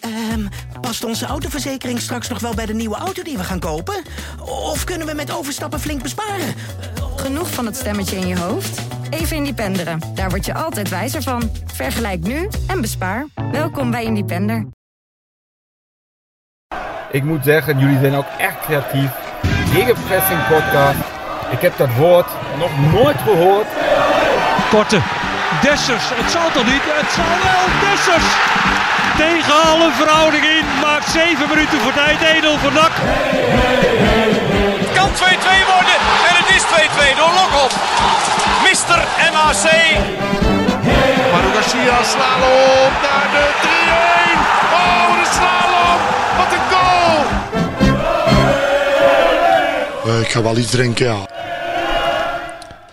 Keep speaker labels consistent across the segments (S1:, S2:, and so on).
S1: Ehm, past onze autoverzekering straks nog wel bij de nieuwe auto die we gaan kopen? Of kunnen we met overstappen flink besparen?
S2: Genoeg van het stemmetje in je hoofd? Even independeren. Daar word je altijd wijzer van. Vergelijk nu en bespaar. Welkom bij Independer.
S3: Ik moet zeggen, jullie zijn ook echt creatief. Gegenpressing podcast. Ik heb dat woord nog nooit gehoord.
S4: Korte. Dessers. Het zal toch niet? Het zal wel. Dessers. Tegen alle verhouding in. Maakt 7 minuten voor tijd. Edel van Dak.
S5: kan 2-2 worden. En het is 2-2 door Lokop. Mister MAC. Maru Garcia, slalom naar de 3-1. Oh, de slalom. Wat een goal.
S6: Eh, ik ga wel iets drinken, ja.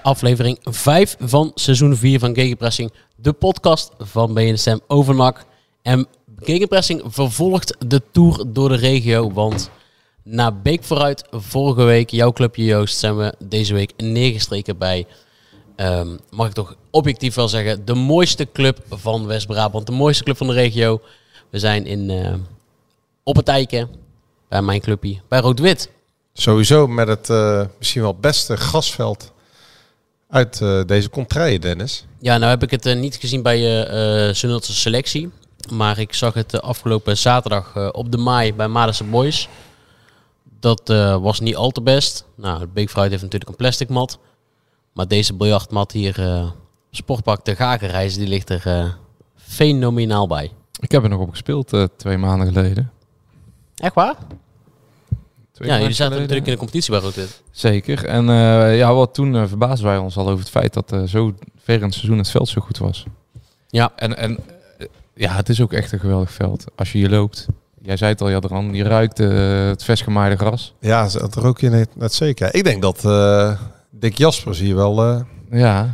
S7: aflevering 5 van seizoen 4 van Gegenpressing, de podcast van BNSM Overnak. En Gegenpressing vervolgt de tour door de regio, want na Beek vooruit vorige week, jouw clubje Joost, zijn we deze week neergestreken bij, ehm, mag ik toch objectief wel zeggen, de mooiste club van West-Brabant, de mooiste club van de regio. We zijn in, eh, op het Eiken, bij mijn clubje, bij Rood-Wit.
S8: Sowieso met het eh, misschien wel beste grasveld uit eh, deze contraille, Dennis.
S7: Ja, nou heb ik het eh, niet gezien bij je eh Zuniltse selectie. Maar ik zag het eh, afgelopen zaterdag eh, op de Maai bij Madense Boys. Dat eh, was niet al te best. Nou, het Big Fruit heeft natuurlijk een plastic mat. Maar deze biljartmat hier, eh, Sportpark de Gakenreis, die ligt er eh, fenomenaal bij.
S9: Ik heb er nog op gespeeld eh, twee maanden geleden.
S7: Echt waar?
S9: Twee
S7: Ja, jullie
S9: maanden
S7: zaten
S9: geleden.
S7: natuurlijk in de competitie bij Roodwit.
S9: Zeker. En eh, ja, wat toen eh, verbaasden wij ons al over het feit dat eh, zo ver in het seizoen het veld zo goed was.
S7: Ja.
S9: En, en eh, ja, het is ook echt een geweldig veld. Als je hier loopt, jij zei het al, Jadran, je ruikt eh, het versgemaaide gras.
S8: Ja, z- dat rook je net, net zeker. Ik denk dat eh, Dick Jaspers hier wel eh,
S9: Ja,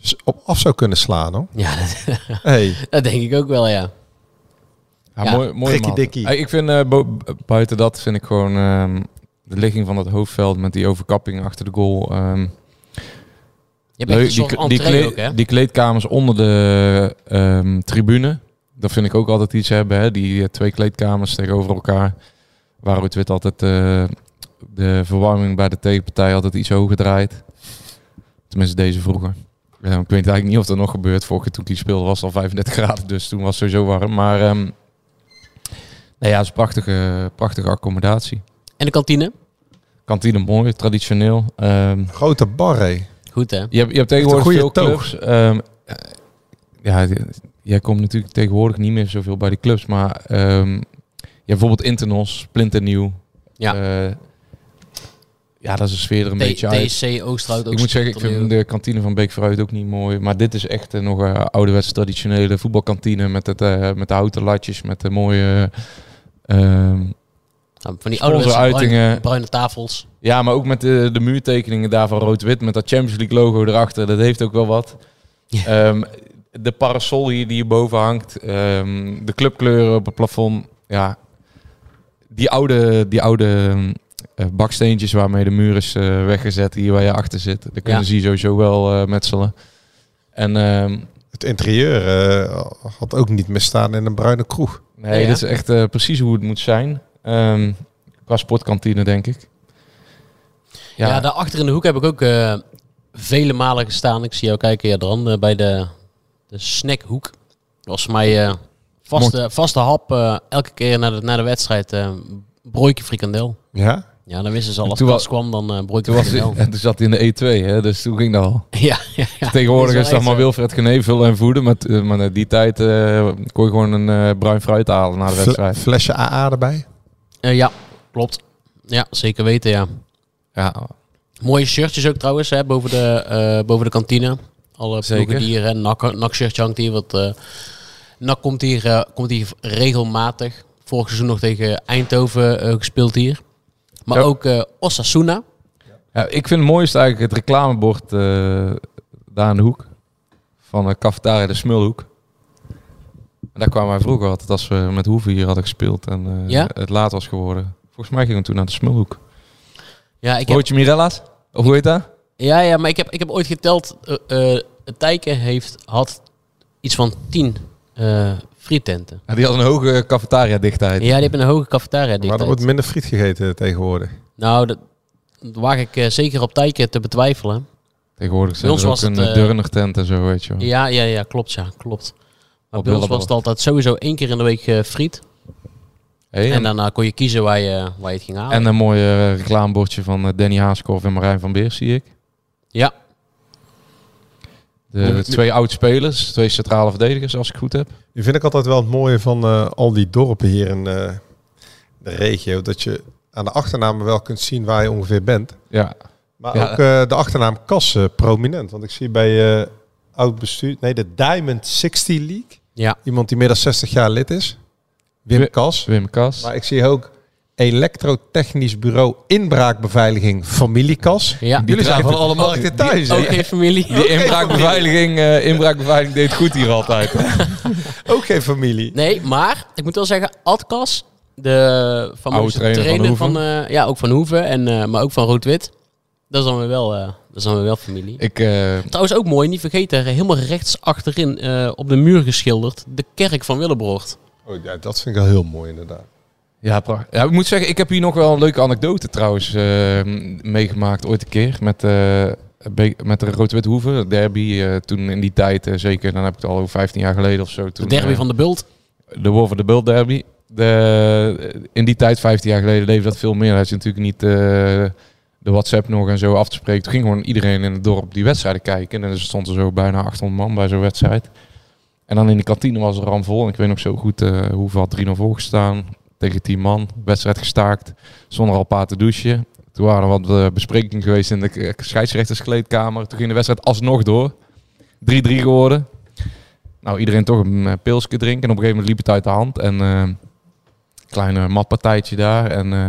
S8: s- op af zou kunnen slaan, hoor.
S7: Ja, dat,
S8: Hey,
S7: dat denk ik ook wel, ja.
S9: ja,
S7: Ja.
S9: mooi. mooi
S8: Prikkie dikkie.
S9: ik vind eh, bo- buiten dat vind ik gewoon ehm, de ligging van dat hoofdveld met die overkapping achter de goal. ehm,
S7: Je bent een
S9: Leuk,
S7: soort
S9: die, die,
S7: entree
S9: kleed-
S7: ook, hè?
S9: die kleedkamers onder de ehm, tribune. Dat vind ik ook altijd iets hebben. Hè? Die eh, twee kleedkamers tegenover elkaar. Waar het wit altijd eh, de verwarming bij de tegenpartij altijd iets hoger draait. Tenminste deze vroeger. Ja, ik weet eigenlijk niet of dat nog gebeurt. Vorige keer toen ik die speelde was het al 35 graden. Dus toen was het sowieso warm. Maar ehm, nou ja, het is een prachtige, prachtige accommodatie.
S7: En de kantine?
S9: Kantine mooi, traditioneel. Ehm,
S8: grote bar, hé.
S7: Goed, hè?
S9: je hebt, je hebt tegenwoordig
S8: Heeft
S9: veel
S8: een goede
S9: clubs. ehm, eh, ja, d- jij komt natuurlijk tegenwoordig niet meer zoveel bij die clubs. Maar ehm, je hebt bijvoorbeeld Internos, Splinternieuw.
S7: Ja.
S9: Eh, ja, dat is de sfeer er een beetje uit.
S7: TC Oosterhout ook.
S9: Ik moet zeggen, ik vind de kantine van Beek vooruit ook niet mooi. Maar dit is echt eh, nog een ouderwetse traditionele voetbalkantine. Met, het, eh, met de houten latjes, met de mooie... ehm,
S7: Nou, van die ouderwetse bruine,
S9: sponsoruitingen.
S7: bruine tafels.
S9: ja, maar ook met de, de muurtekeningen daarvan rood-wit, met dat Champions League logo erachter, dat heeft ook wel wat.
S7: Ja.
S9: Ehm, de parasol hier die hierboven hangt, ehm, de clubkleuren op het plafond. Ja, die oude, die oude eh, baksteentjes waarmee de muur is eh, weggezet, hier waar je achter zit, daar kunnen
S7: Ja.
S9: ze hier sowieso wel eh, metselen. En ehm,
S8: Het interieur eh, had ook niet misstaan in een bruine kroeg.
S9: nee,
S7: Ja.
S9: dit is echt eh, precies hoe het moet zijn. Ehm, qua sportkantine, denk ik.
S7: Ja. daarachter in de hoek heb ik ook eh, vele malen gestaan. Ik zie jou kijken, Jadran, eh, bij de, de snackhoek. Dat was voor mij eh vaste, vaste hap eh, elke keer na de, na de wedstrijd. eh broodje frikandel.
S8: Ja?
S7: Ja, dan wisten ze al als
S9: Toen
S7: Kas
S9: wa-
S7: kwam, dan eh broodje
S9: Toen, was
S7: frikandel.
S9: hij, en toen zat hij in de E2, hè, dus toen ging dat al.
S7: ja, ja, ja.
S9: Tegenwoordig
S7: Dat
S9: is dat
S7: is wel
S9: maar
S7: echt
S9: Wilfred Gené vullen en voeden. Maar, t- eh, maar in die tijd eh, kon je gewoon een eh, bruin fruit halen na de
S8: Fle-
S9: wedstrijd.
S8: flesje AA erbij?
S7: Eh, ja, klopt. Ja, zeker weten, ja.
S9: Ja,
S7: Mooie shirtjes ook trouwens, hè, boven, de, eh, boven de kantine. Alle ploegen
S9: Zeker.
S7: die hier, hè, nak, nak shirtje hangt hier. Wat, eh nak komt hier, eh, komt hier regelmatig. Vorig seizoen nog tegen Eindhoven eh, gespeeld hier. Maar
S9: Ja.
S7: ook eh, Osasuna.
S9: Ja, ik vind het mooiste eigenlijk het reclamebord eh, daar aan de hoek. Van de cafetaria de Smulhoek. En daar kwamen wij vroeger altijd als we met Hoeven hier hadden gespeeld. En eh,
S7: Ja?
S9: het laat was geworden. Volgens mij gingen we toen naar de Smulhoek.
S7: Ja, ik heb,
S9: Broodje Mirella's? Of hoe heet dat?
S7: ja, ja, maar ik heb, ik heb ooit geteld. eh eh, het Tijken heeft, had iets van tien eh, Frietenten.
S9: Ja, die had een hoge cafetaria dichtheid.
S7: Ja, die hebben een hoge cafetaria
S8: Maar er
S7: dichtheid.
S8: wordt minder friet gegeten tegenwoordig.
S7: Nou, dat dat waag ik eh, zeker op tijdje te betwijfelen.
S9: Tegenwoordig zijn
S7: ons
S9: er ook
S7: was het,
S9: een
S7: eh,
S9: eh, Durner tent en zo, weet je wel.
S7: Ja, ja, ja, klopt, ja, klopt. Maar
S9: Hm. Op
S7: bij ons was
S9: Willebroord.
S7: het altijd sowieso één keer in de week eh, friet.
S9: Hey,
S7: En
S9: en,
S7: daarna kon je kiezen waar je, eh, waar je het ging halen.
S9: en een mooi eh, reclamebordje van eh, Danny Haaskov en Marijn van Beer, zie ik.
S7: Ja.
S9: De twee oud-spelers, twee centrale verdedigers, als ik goed heb.
S8: Nu vind ik altijd wel het mooie van eh, al die dorpen hier in eh, de regio. Dat je aan de achternamen wel kunt zien waar je ongeveer bent.
S9: Ja,
S8: Maar
S9: Ja.
S8: ook eh, de achternaam Kassen prominent. Want ik zie bij eh oud bestuur, nee, de Diamond 60 League.
S7: Ja.
S8: Iemand die meer dan 60 jaar lid is. Wim
S9: Wi-
S8: Kas.
S9: Wim Kast.
S8: Maar ik zie ook Elektrotechnisch Bureau Inbraakbeveiliging Familiekas.
S7: Ja.
S8: Jullie zijn van
S9: Die-
S8: alle markten thuis. hè?
S7: Ook geen familie.
S9: Die inbraakbeveiliging, eh, inbraakbeveiliging deed goed hier altijd.
S8: Ook geen familie.
S7: Nee, maar ik moet wel zeggen, Adkas, de
S9: Oude
S7: fameuze
S9: trainer
S7: trainer,
S9: van Hoeven.
S7: van, eh, ja, ook van Hoeven, en, eh, maar ook van Rood-Wit. Dat is dan weer wel, eh, dat is dan weer wel familie.
S9: Ik, eh,
S7: Trouwens ook mooi, niet vergeten, helemaal rechts achterin eh, op de muur geschilderd, de kerk van Willebroord.
S8: Oh, ja, dat vind ik wel heel mooi inderdaad.
S9: Ja, pra- ja, ik moet zeggen, ik heb hier nog wel een leuke anekdote trouwens eh, meegemaakt ooit een keer met, eh, Be- met de Rood-Wit Hoeven, derby. eh, toen in die tijd, eh, zeker, dan heb ik het al over 15 jaar geleden of zo.
S7: De
S9: Toen,
S7: derby
S9: eh,
S7: van de Bult.
S9: de Wolf de Bult derby. De, in die tijd, 15 jaar geleden, leefde dat veel meer. Had je natuurlijk niet eh, de WhatsApp nog en zo af te spreken. Toen ging gewoon iedereen in het dorp die wedstrijden kijken. En er stond er zo bijna 800 man bij zo'n wedstrijd. En dan in de kantine was het ramvol. En ik weet nog zo goed eh hoeveel had 3-0 voorgestaan. Tegen 10 man. Wedstrijd gestaakt. Zonder al een paar te douchen. Toen waren er wat eh, besprekingen geweest in de k- scheidsrechterskleedkamer. Toen ging de wedstrijd alsnog door. 3-3 geworden. Nou, iedereen toch een eh, pilsje drinken. En op een gegeven moment liep het uit de hand. En eh kleine matpartijtje daar. En eh,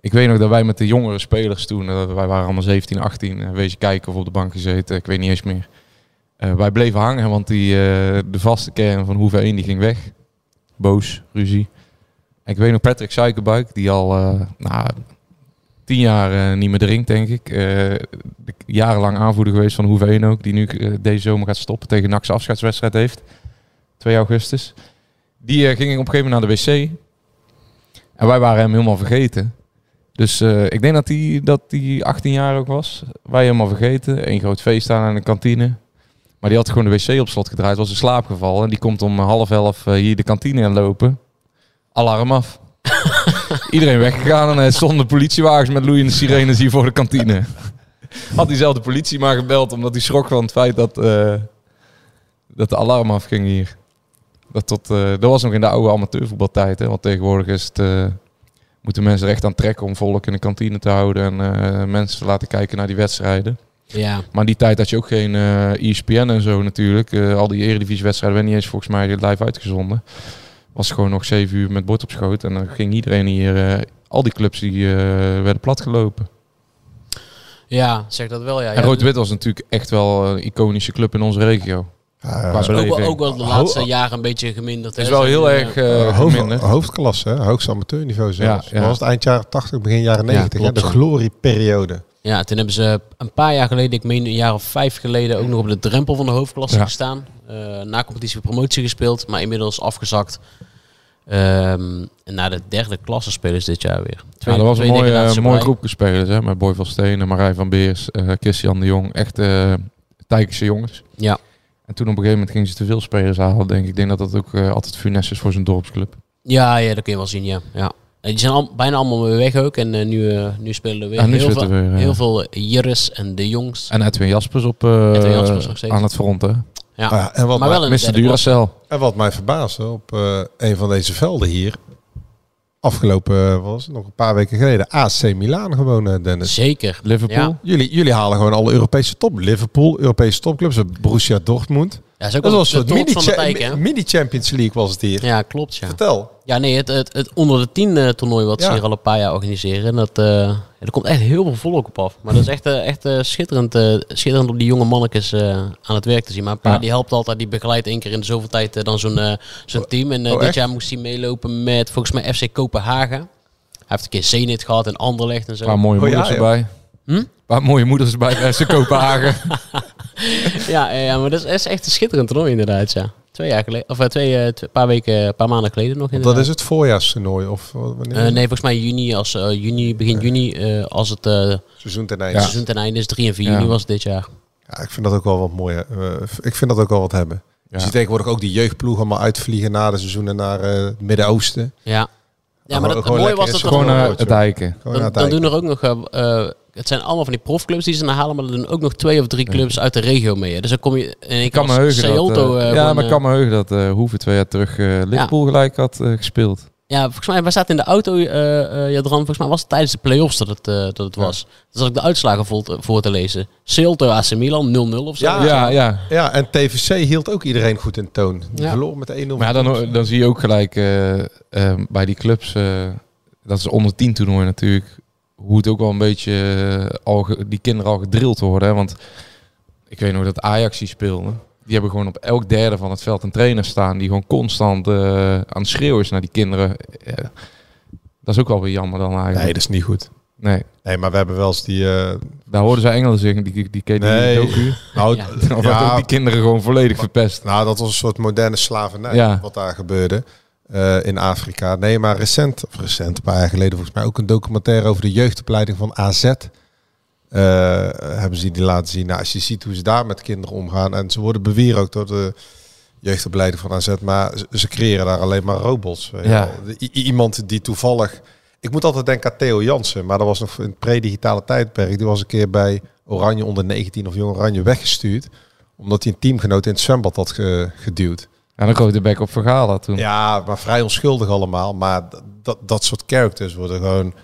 S9: ik weet nog dat wij met de jongere spelers toen, eh, wij waren allemaal 17, 18, eh, wezen kijken of op de bank gezeten. Ik weet niet eens meer. Eh, wij bleven hangen, want die, eh, de vaste kern van Hoeve 1 die ging weg. Boos, ruzie. En ik weet nog Patrick Suikerbuik, die al eh, nou, tien jaar eh, niet meer drinkt, denk ik. Eh, de- jarenlang aanvoerder geweest van Hoeve 1 ook. Die nu eh, deze zomer gaat stoppen tegen NAC's afscheidswedstrijd heeft. 2 augustus. Die eh, ging op een gegeven moment naar de wc. En wij waren hem helemaal vergeten. Dus eh, ik denk dat die, dat die 18 jaar ook was. Wij helemaal vergeten. Eén groot feest aan in de kantine. Maar die had gewoon de wc op slot gedraaid. Was in slaap gevallen. En die komt om half elf eh, hier de kantine in lopen. Alarm af. Iedereen weggegaan. En er stonden politiewagens met loeiende sirenes hier voor de kantine. Had diezelfde politie maar gebeld. Omdat hij schrok van het feit dat, eh, dat de alarm afging hier. Dat, tot, eh, dat was nog in de oude amateurvoetbaltijd. Hè? Want tegenwoordig is het, eh, moeten mensen er echt aan trekken om volk in de kantine te houden. En eh, mensen te laten kijken naar die wedstrijden.
S7: Ja,
S9: Maar in die tijd had je ook geen eh ESPN en zo natuurlijk. Eh, al die Eredivisie-wedstrijden werden niet eens volgens mij live uitgezonden. Was gewoon nog zeven uur met bord op schoot. En dan ging iedereen hier... eh, al die clubs die eh, werden platgelopen.
S7: ja, zeg dat wel, ja.
S9: En
S7: ja.
S9: Rood-Wit was natuurlijk echt wel een iconische club in onze regio.
S8: Eh,
S9: Qua
S7: Dat is ook, wel-
S9: beleving.
S7: ook wel de laatste jaren een beetje geminderd.
S9: Het is
S7: hè.
S9: wel
S7: Zo
S9: heel
S7: nu,
S9: erg
S7: eh,
S9: eh,
S8: Eh, hoofd-
S9: minder.
S8: hoofdklasse, hè? hoogste amateurniveau zelfs.
S9: Ja,
S8: Ja,
S9: ja.
S8: was het eind jaren 80, begin jaren
S9: Ja,
S8: 90. hè?
S9: klopt, Ah.
S8: de
S9: ja.
S8: glorieperiode.
S7: Ja, toen hebben ze een paar jaar geleden, ik meen een jaar of vijf geleden, ook nog op de drempel van de hoofdklasse
S9: Ja.
S7: gestaan. Eh, na competitie weer promotie gespeeld, maar inmiddels afgezakt. Ehm, en naar de derde klasse spelen ze dit jaar weer.
S9: ja, dat was een
S7: twee
S9: mooie,
S7: degradaties
S9: eh,
S7: op
S9: mooie
S7: rij.
S9: groepje spelers. Hè? Met Boy van Stenen, Marij van Beers, eh, Christian de Jong. Echt eh Tijkse jongens.
S7: Ja.
S9: En toen op een gegeven moment gingen ze te veel spelers halen, denk ik. Ik denk dat dat ook eh, altijd funest is voor zo'n dorpsclub.
S7: Ja, ja, dat kun je wel zien, ja. ja. En die zijn al, bijna allemaal weer weg ook. En eh, nu, eh, nu spelen er weer,
S9: Ja, nu
S7: heel,
S9: zitten
S7: veel,
S9: we weer, ja. Ah,
S7: heel veel eh, Jirres en de Jongs.
S9: En Edwin Jaspers op eh,
S7: Edwin Jaspers nog steeds.
S9: aan het front, hè?
S7: Ja.
S8: Ah, en, wat
S7: maar wel
S8: mij,
S7: een
S9: Mr.
S7: derde klasse.
S9: Duracell.
S8: en wat mij verbaasde, op eh, een van deze velden hier, afgelopen eh, was het nog een paar weken geleden, AC Milaan gewoon, eh, Dennis.
S7: Zeker.
S9: Liverpool.
S7: Ja.
S8: Jullie, jullie halen gewoon alle Europese top. Liverpool, Europese topclubs, eh, Borussia Dortmund.
S7: Ja, is ook
S8: Dat
S7: wel
S8: was
S7: de
S8: een
S7: trots van de
S8: mini-cha-
S7: dijk, hè?
S8: mini-Champions League was het hier.
S7: Ja, klopt, ja.
S8: Vertel.
S7: Ja, nee, het, het, het onder de tien eh, toernooi wat ze
S8: Ja.
S7: hier al een paar jaar organiseren. En dat, eh, ja, er komt echt heel veel volk op af. Maar dat is echt, eh, echt eh, schitterend, eh, schitterend om die jonge mannetjes eh, aan het werk te zien. Maar een paar
S9: Ja.
S7: die helpt altijd, die begeleidt één keer in de zoveel tijd eh, dan zo'n eh, zo'n team. En eh,
S8: oh,
S7: dit
S8: echt?
S7: jaar moest hij meelopen met volgens mij FC Kopenhagen. Hij heeft een keer Zenit gehad en Anderlecht en zo.
S9: Een paar mooie
S8: Oh, ja,
S9: moeders
S8: joh.
S9: erbij.
S7: Hm?
S9: Een paar mooie moeders erbij bij FC Kopenhagen.
S7: Ja, ja, ja, maar dat is, dat is echt een schitterend toernooi inderdaad, ja. Twee jaar geleden, of eh, twee, eh, tw- paar weken, eh, paar maanden geleden nog.
S8: Want
S7: inderdaad.
S8: dat is het voorjaarstoernooi. Of eh, wanneer?
S7: Eh, nee, volgens mij juni, als, eh, juni begin juni, eh, als het eh,
S8: Seizoen ten einde.
S9: Ja.
S7: seizoen ten einde is. 3 en 4
S9: Ja.
S7: juni was het dit jaar.
S8: Ja, ik vind dat ook wel wat mooi. eh, ik vind dat ook wel wat hebben. Je
S9: Ja.
S8: ziet tegenwoordig ook die jeugdploeg allemaal uitvliegen na de seizoenen naar eh, het Midden-Oosten.
S7: Ja, ja maar
S8: Gewoon-
S7: dat, het
S8: gewoon
S7: mooie
S8: lekker
S7: was dat
S8: is
S7: er
S8: gewoon,
S9: Gewoon
S8: eh,
S9: naar het dijken.
S8: Gewoon
S7: Dan,
S8: naar
S7: dan
S8: het
S7: doen er ook nog. eh, eh, het zijn allemaal van die profclubs die ze naar halen, maar er doen ook nog twee of drie clubs uit de regio mee. hè. Dus dan kom je in één
S9: Ik kan me
S7: keer als
S9: heugen dat,
S7: Seolto.
S9: eh,
S7: eh,
S9: ja,
S7: gewoon,
S9: maar ik
S7: eh,
S9: kan me heugen dat eh Hoeven twee jaar terug eh Liverpool gelijk had eh, gespeeld.
S7: ja, volgens mij, wij zaten in de auto, eh eh, Jadran, volgens mij was het tijdens de play-offs dat het, eh, dat het was. Dus zat ik de uitslagen vol te- voor te lezen. Seolto AC Milan 0-0 of zo.
S8: Ja.
S9: ja, ja.
S8: Ja, en TVC hield ook iedereen goed in toon. Die
S7: Ja.
S8: verloor met 1-0.
S9: Maar ja, dan, dan zie je ook gelijk eh, eh, bij die clubs, eh, dat is onder 10 toernooi natuurlijk, hoe het ook wel een beetje eh, al ge- die kinderen al gedrild worden. Hè? Want ik weet nog dat Ajax die speelde. Die hebben gewoon op elk derde van het veld een trainer staan die gewoon constant eh, aan het schreeuwen is naar die kinderen. Eh, dat is ook wel weer jammer dan eigenlijk.
S8: Nee,
S9: Nee,
S8: dat is niet goed. Nee, maar we hebben wel eens die... eh,
S9: daar hoorden ze Engelen zeggen, die, die, die ken je
S8: Nee.
S9: die docu.
S8: nou,
S7: Ja.
S9: Dan werd ook die kinderen gewoon volledig verpest.
S8: Nou, dat was een soort moderne slavernij
S9: Ja.
S8: wat daar gebeurde eh, in Afrika. Nee, maar recent, of recent, een paar jaar geleden volgens mij ook een documentaire over de jeugdopleiding van AZ. eh, hebben ze die laten zien. Nou, als je ziet hoe ze daar met kinderen omgaan. En ze worden beweren ook door de jeugdopleiding van AZ. Maar ze, ze creëren daar alleen maar robots. weet je
S9: Ja.
S8: wel. I- i- iemand die toevallig... Ik moet altijd denken aan Theo Jansen. Maar dat was nog in het pre-digitale tijdperk. Die was een keer bij Oranje onder 19 of Jong Oranje weggestuurd. Omdat hij een teamgenoot in het zwembad had ge- geduwd.
S9: Ja, dan kwam de back op Vergala toen.
S8: Ja, maar vrij onschuldig allemaal. Maar d- dat, dat soort characters worden gewoon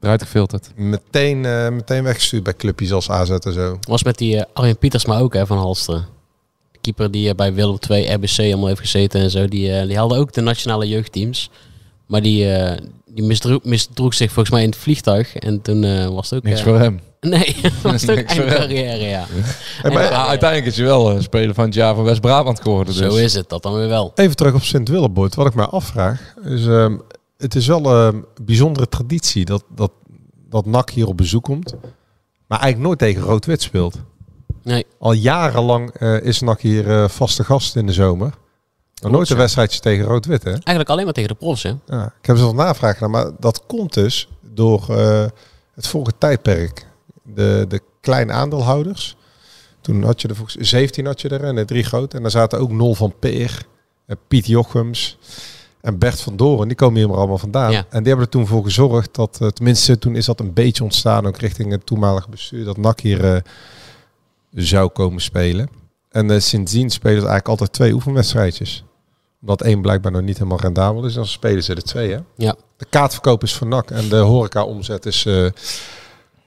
S9: Eruit gefilterd.
S8: meteen, eh, meteen weggestuurd bij clubjes als AZ en zo.
S7: Was met die eh, Arjen Pieters maar ook hè, van Halsteren. De keeper die eh, bij Willem II, RBC allemaal heeft gezeten en zo. Die, eh, die haalde ook de nationale jeugdteams. Maar die, eh, die misdroeg, misdroeg zich volgens mij in het vliegtuig. En toen eh, was het ook...
S9: Niks
S7: eh,
S9: voor hem.
S7: Nee, was het ook
S9: Niks voor
S7: eind
S9: hem.
S7: carrière, ja.
S8: Hey, maar
S7: En,
S9: Ja,
S7: eh,
S9: uiteindelijk is hij wel eh, speler van het jaar van West-Brabant geworden. Dus.
S7: Zo is het, dat dan weer wel.
S8: even terug op sint willeboord Wat ik mij afvraag is... ehm, het is wel een bijzondere traditie dat, dat, dat NAC hier op bezoek komt. Maar eigenlijk nooit tegen Rood-Wit speelt.
S7: Nee.
S8: Al jarenlang eh, is NAC hier eh, vaste gast in de zomer. Maar nooit een wedstrijdje tegen Rood-Wit, hè?
S7: Eigenlijk alleen maar tegen de profs, hè.
S8: Ja, ik heb zelf navraag gedaan, maar dat komt dus door eh, het vorige tijdperk. De, de klein aandeelhouders. Toen had je er volgens 17 had je er en de drie groot. En daar zaten ook Nol van Peer, en Piet Jochems en Bert van Doren. Die komen hier maar allemaal vandaan.
S7: Ja.
S8: En die hebben er toen voor gezorgd dat, eh, tenminste toen is dat een beetje ontstaan, ook richting het toenmalige bestuur, dat NAC hier eh, zou komen spelen. En eh, sindsdien spelen ze eigenlijk altijd twee oefenwedstrijdjes. Omdat één blijkbaar nog niet helemaal rendabel is. Dan spelen ze er twee, hè?
S7: Ja.
S8: De kaartverkoop is voor NAC en de horeca-omzet is eh,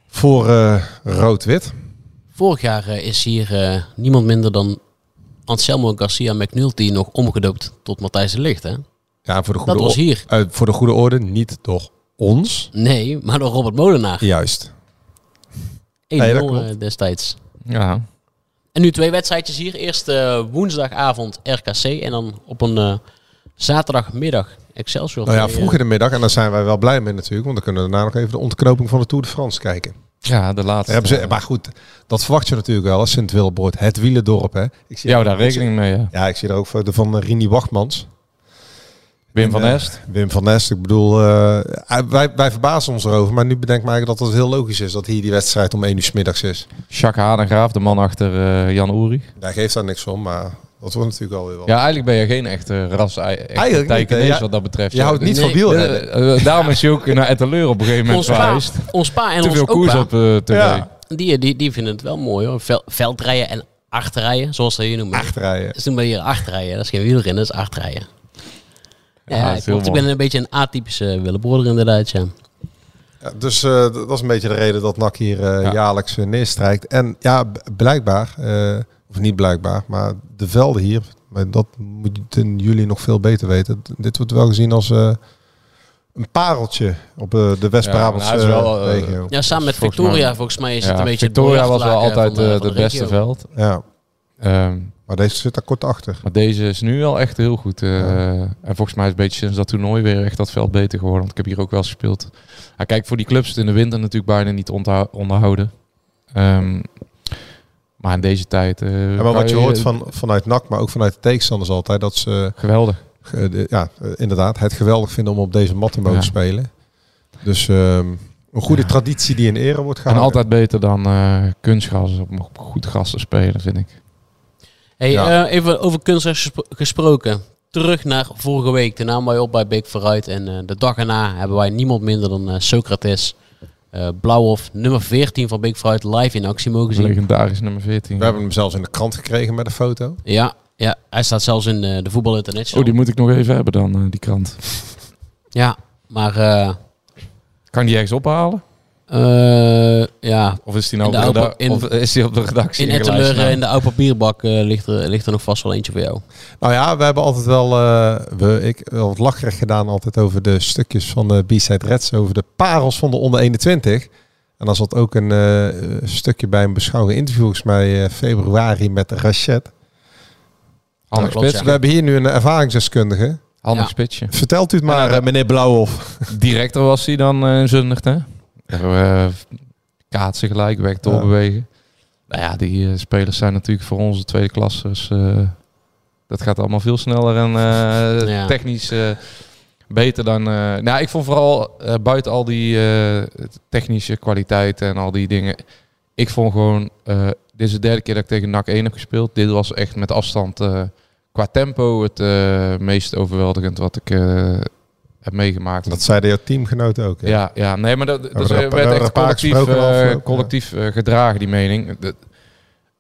S8: voor eh, rood-wit.
S7: Vorig jaar eh, is hier eh, niemand minder dan Anselmo Garcia McNulty nog omgedoopt tot Matthijs de Ligt, hè.
S8: Ja, voor de
S7: Dat
S8: goede,
S7: was
S8: or-
S7: hier.
S8: eh, voor de goede orde, niet door ons.
S7: Nee, maar door Robert Molenaar. 1-0
S8: Juist. dat klopt.
S7: eh, destijds.
S9: Ja.
S7: En nu twee wedstrijdjes hier. Eerst eh, woensdagavond RKC en dan op een eh, zaterdagmiddag Excelsior.
S8: Nou ja,
S7: Nee,
S8: vroeg in de middag, en daar zijn wij wel blij mee natuurlijk, want dan kunnen we daarna nog even de ontknoping van de Tour de France kijken.
S9: ja, de laatste.
S8: Daar hebben ze, maar goed, dat verwacht je natuurlijk wel als Sint-Wilbroord, het wielendorp. Hè. Ik zie
S9: Jou daar rekening mee, ja.
S8: Ja, ik zie er ook foto van eh, Rini Wachtmans.
S9: Wim van
S8: En, eh,
S9: Est.
S8: Wim van Est, ik bedoel, eh, wij, wij verbazen ons erover, maar nu bedenk ik me eigenlijk dat het heel logisch is dat hier die wedstrijd om 1 uur 's middags is.
S9: Jacques Hadengraaf, de man achter eh, Jan Oerig.
S8: Daar geeft daar niks om, maar dat wordt natuurlijk alweer wel.
S9: Ja, eigenlijk ben je geen echte ras
S8: Eigenlijk
S9: eigenlijk
S8: niet, hè. Ja.
S9: wat dat betreft.
S8: je houdt niet
S7: nee,
S8: van wielrennen.
S9: Eh, eh, daarom is hij ook naar Etteleur op een gegeven moment
S7: eh, Ons pa,
S9: verhuisd.
S7: ons pa en
S9: Te
S7: ons
S9: veel koers
S7: opa,
S9: op eh, tv.
S8: Ja.
S7: die, die, die vinden het wel mooi hoor. Vel- veldrijden en achtrijden, zoals ze hier noemen.
S8: Achterrijden.
S7: Dus toen ben je hier achtrijden. Dat is geen wielrennen, dat is achtrijden. Ja,
S9: dat is
S7: ik,
S9: heel
S7: klopt. ik
S9: mooi.
S7: ben een beetje een atypische Willeboorder inderdaad, ja.
S8: Ja, dus eh, d- dat is een beetje de reden dat NAC hier eh,
S9: Ja.
S8: jaarlijks eh, neerstrijkt. En ja, b- blijkbaar, eh, of niet blijkbaar, maar de velden hier, maar dat moeten jullie nog veel beter weten. D- Dit wordt wel gezien als eh, een pareltje op eh, de
S9: Ja,
S8: West-Brabantse
S9: maar hij is wel, eh,
S8: regio.
S7: Ja, samen met
S9: Volgens
S7: Victoria,
S9: mij-
S7: volgens mij is het
S9: Ja,
S7: een beetje het
S9: Victoria was wel
S7: doorjaaglaken
S9: altijd
S7: van de-
S9: eh,
S7: van
S9: de
S7: de
S9: beste
S7: regio.
S9: veld.
S8: Ja,
S9: Ehm,
S8: maar deze zit daar kort achter.
S9: maar deze is nu wel echt heel goed. eh,
S8: Ja.
S9: En volgens mij is het beetje sinds dat toernooi weer echt dat veld beter geworden. Want ik heb hier ook wel eens gespeeld. Ja, kijk, voor die clubs is het in de winter natuurlijk bijna niet te ontha- onderhouden. Ehm, Maar in deze tijd... eh,
S8: Ja, maar
S9: kan
S8: wat je hoort van, vanuit NAC, maar ook vanuit de tegenstanders altijd, dat ze
S9: Geweldig.
S8: eh, de- ja, eh, inderdaad het geweldig vinden om op deze mat te mogen
S9: Ja.
S8: spelen. Dus ehm, een goede
S9: Ja.
S8: traditie die in ere wordt
S9: En
S8: gehouden.
S9: altijd beter dan eh kunstgras om op goed gras te spelen, vind ik.
S7: Hey,
S8: Ja.
S7: eh, even over kunstgras gespro- gesproken. Terug naar vorige week. Daarna nam wij op bij Beek vooruit. En eh, de dag erna hebben wij niemand minder dan eh, Socrates eh Blauwhof, nummer 14 van Beek vooruit, live in actie mogen zien.
S9: Legendarisch nummer 14.
S8: We hebben hem zelfs in de krant gekregen met een foto.
S7: Ja, ja, hij staat zelfs in eh, de Voetbal International.
S9: Oh, die moet ik nog even hebben dan, eh, die krant.
S7: Ja, maar eh,
S9: Kan die ergens ophalen?
S7: eh, ja,
S9: Of is die nou
S7: In
S9: op de, reda-
S7: de oude- in-
S9: of is die nou. op de redactie
S7: in
S9: ingelijst?
S7: Etteleur eh, in de oude papierbak eh, ligt, er, ligt er nog vast wel eentje voor jou.
S8: Nou ja, we hebben altijd wel, eh, we, ik, wel wat lacherig gedaan altijd over de stukjes van de B-side Reds, over de parels van de onder 21. En daar zat ook een eh, stukje bij een beschouwing interview, volgens mij eh, februari met Rachet.
S9: Handig
S7: Ja, klopt,
S9: spits-
S8: We hebben hier nu een ervaringsdeskundige.
S9: Handig
S7: Ja.
S9: spitsje.
S8: Vertelt u het maar, eh, meneer Blauwhof.
S9: Directer was hij dan eh, in Zundert, hè? Daar hebben we eh, kaatsen gelijk, weg doorbewegen. Nou ja, die eh, spelers zijn natuurlijk voor onze tweede klassers. eh, dat gaat allemaal veel sneller en eh,
S7: Ja.
S9: technisch eh, beter dan... eh, nou, ik vond vooral eh, buiten al die eh, technische kwaliteiten en al die dingen... Ik vond gewoon... eh, dit is de derde keer dat ik tegen NAC 1 heb gespeeld. Dit was echt met afstand eh, qua tempo het eh, meest overweldigend wat ik eh, heb meegemaakt.
S8: Dat zeiden jouw teamgenoten ook. hè?
S9: Ja, eh. ja, nee, maar dat, dat
S8: hebben
S9: dus,
S8: er
S9: eh,
S8: een
S9: werd
S8: paar-
S9: echt
S8: een paar
S9: collectief,
S8: gesproken
S9: eh,
S8: afgelopen, ja.
S9: collectief eh, gedragen, die mening. Dat-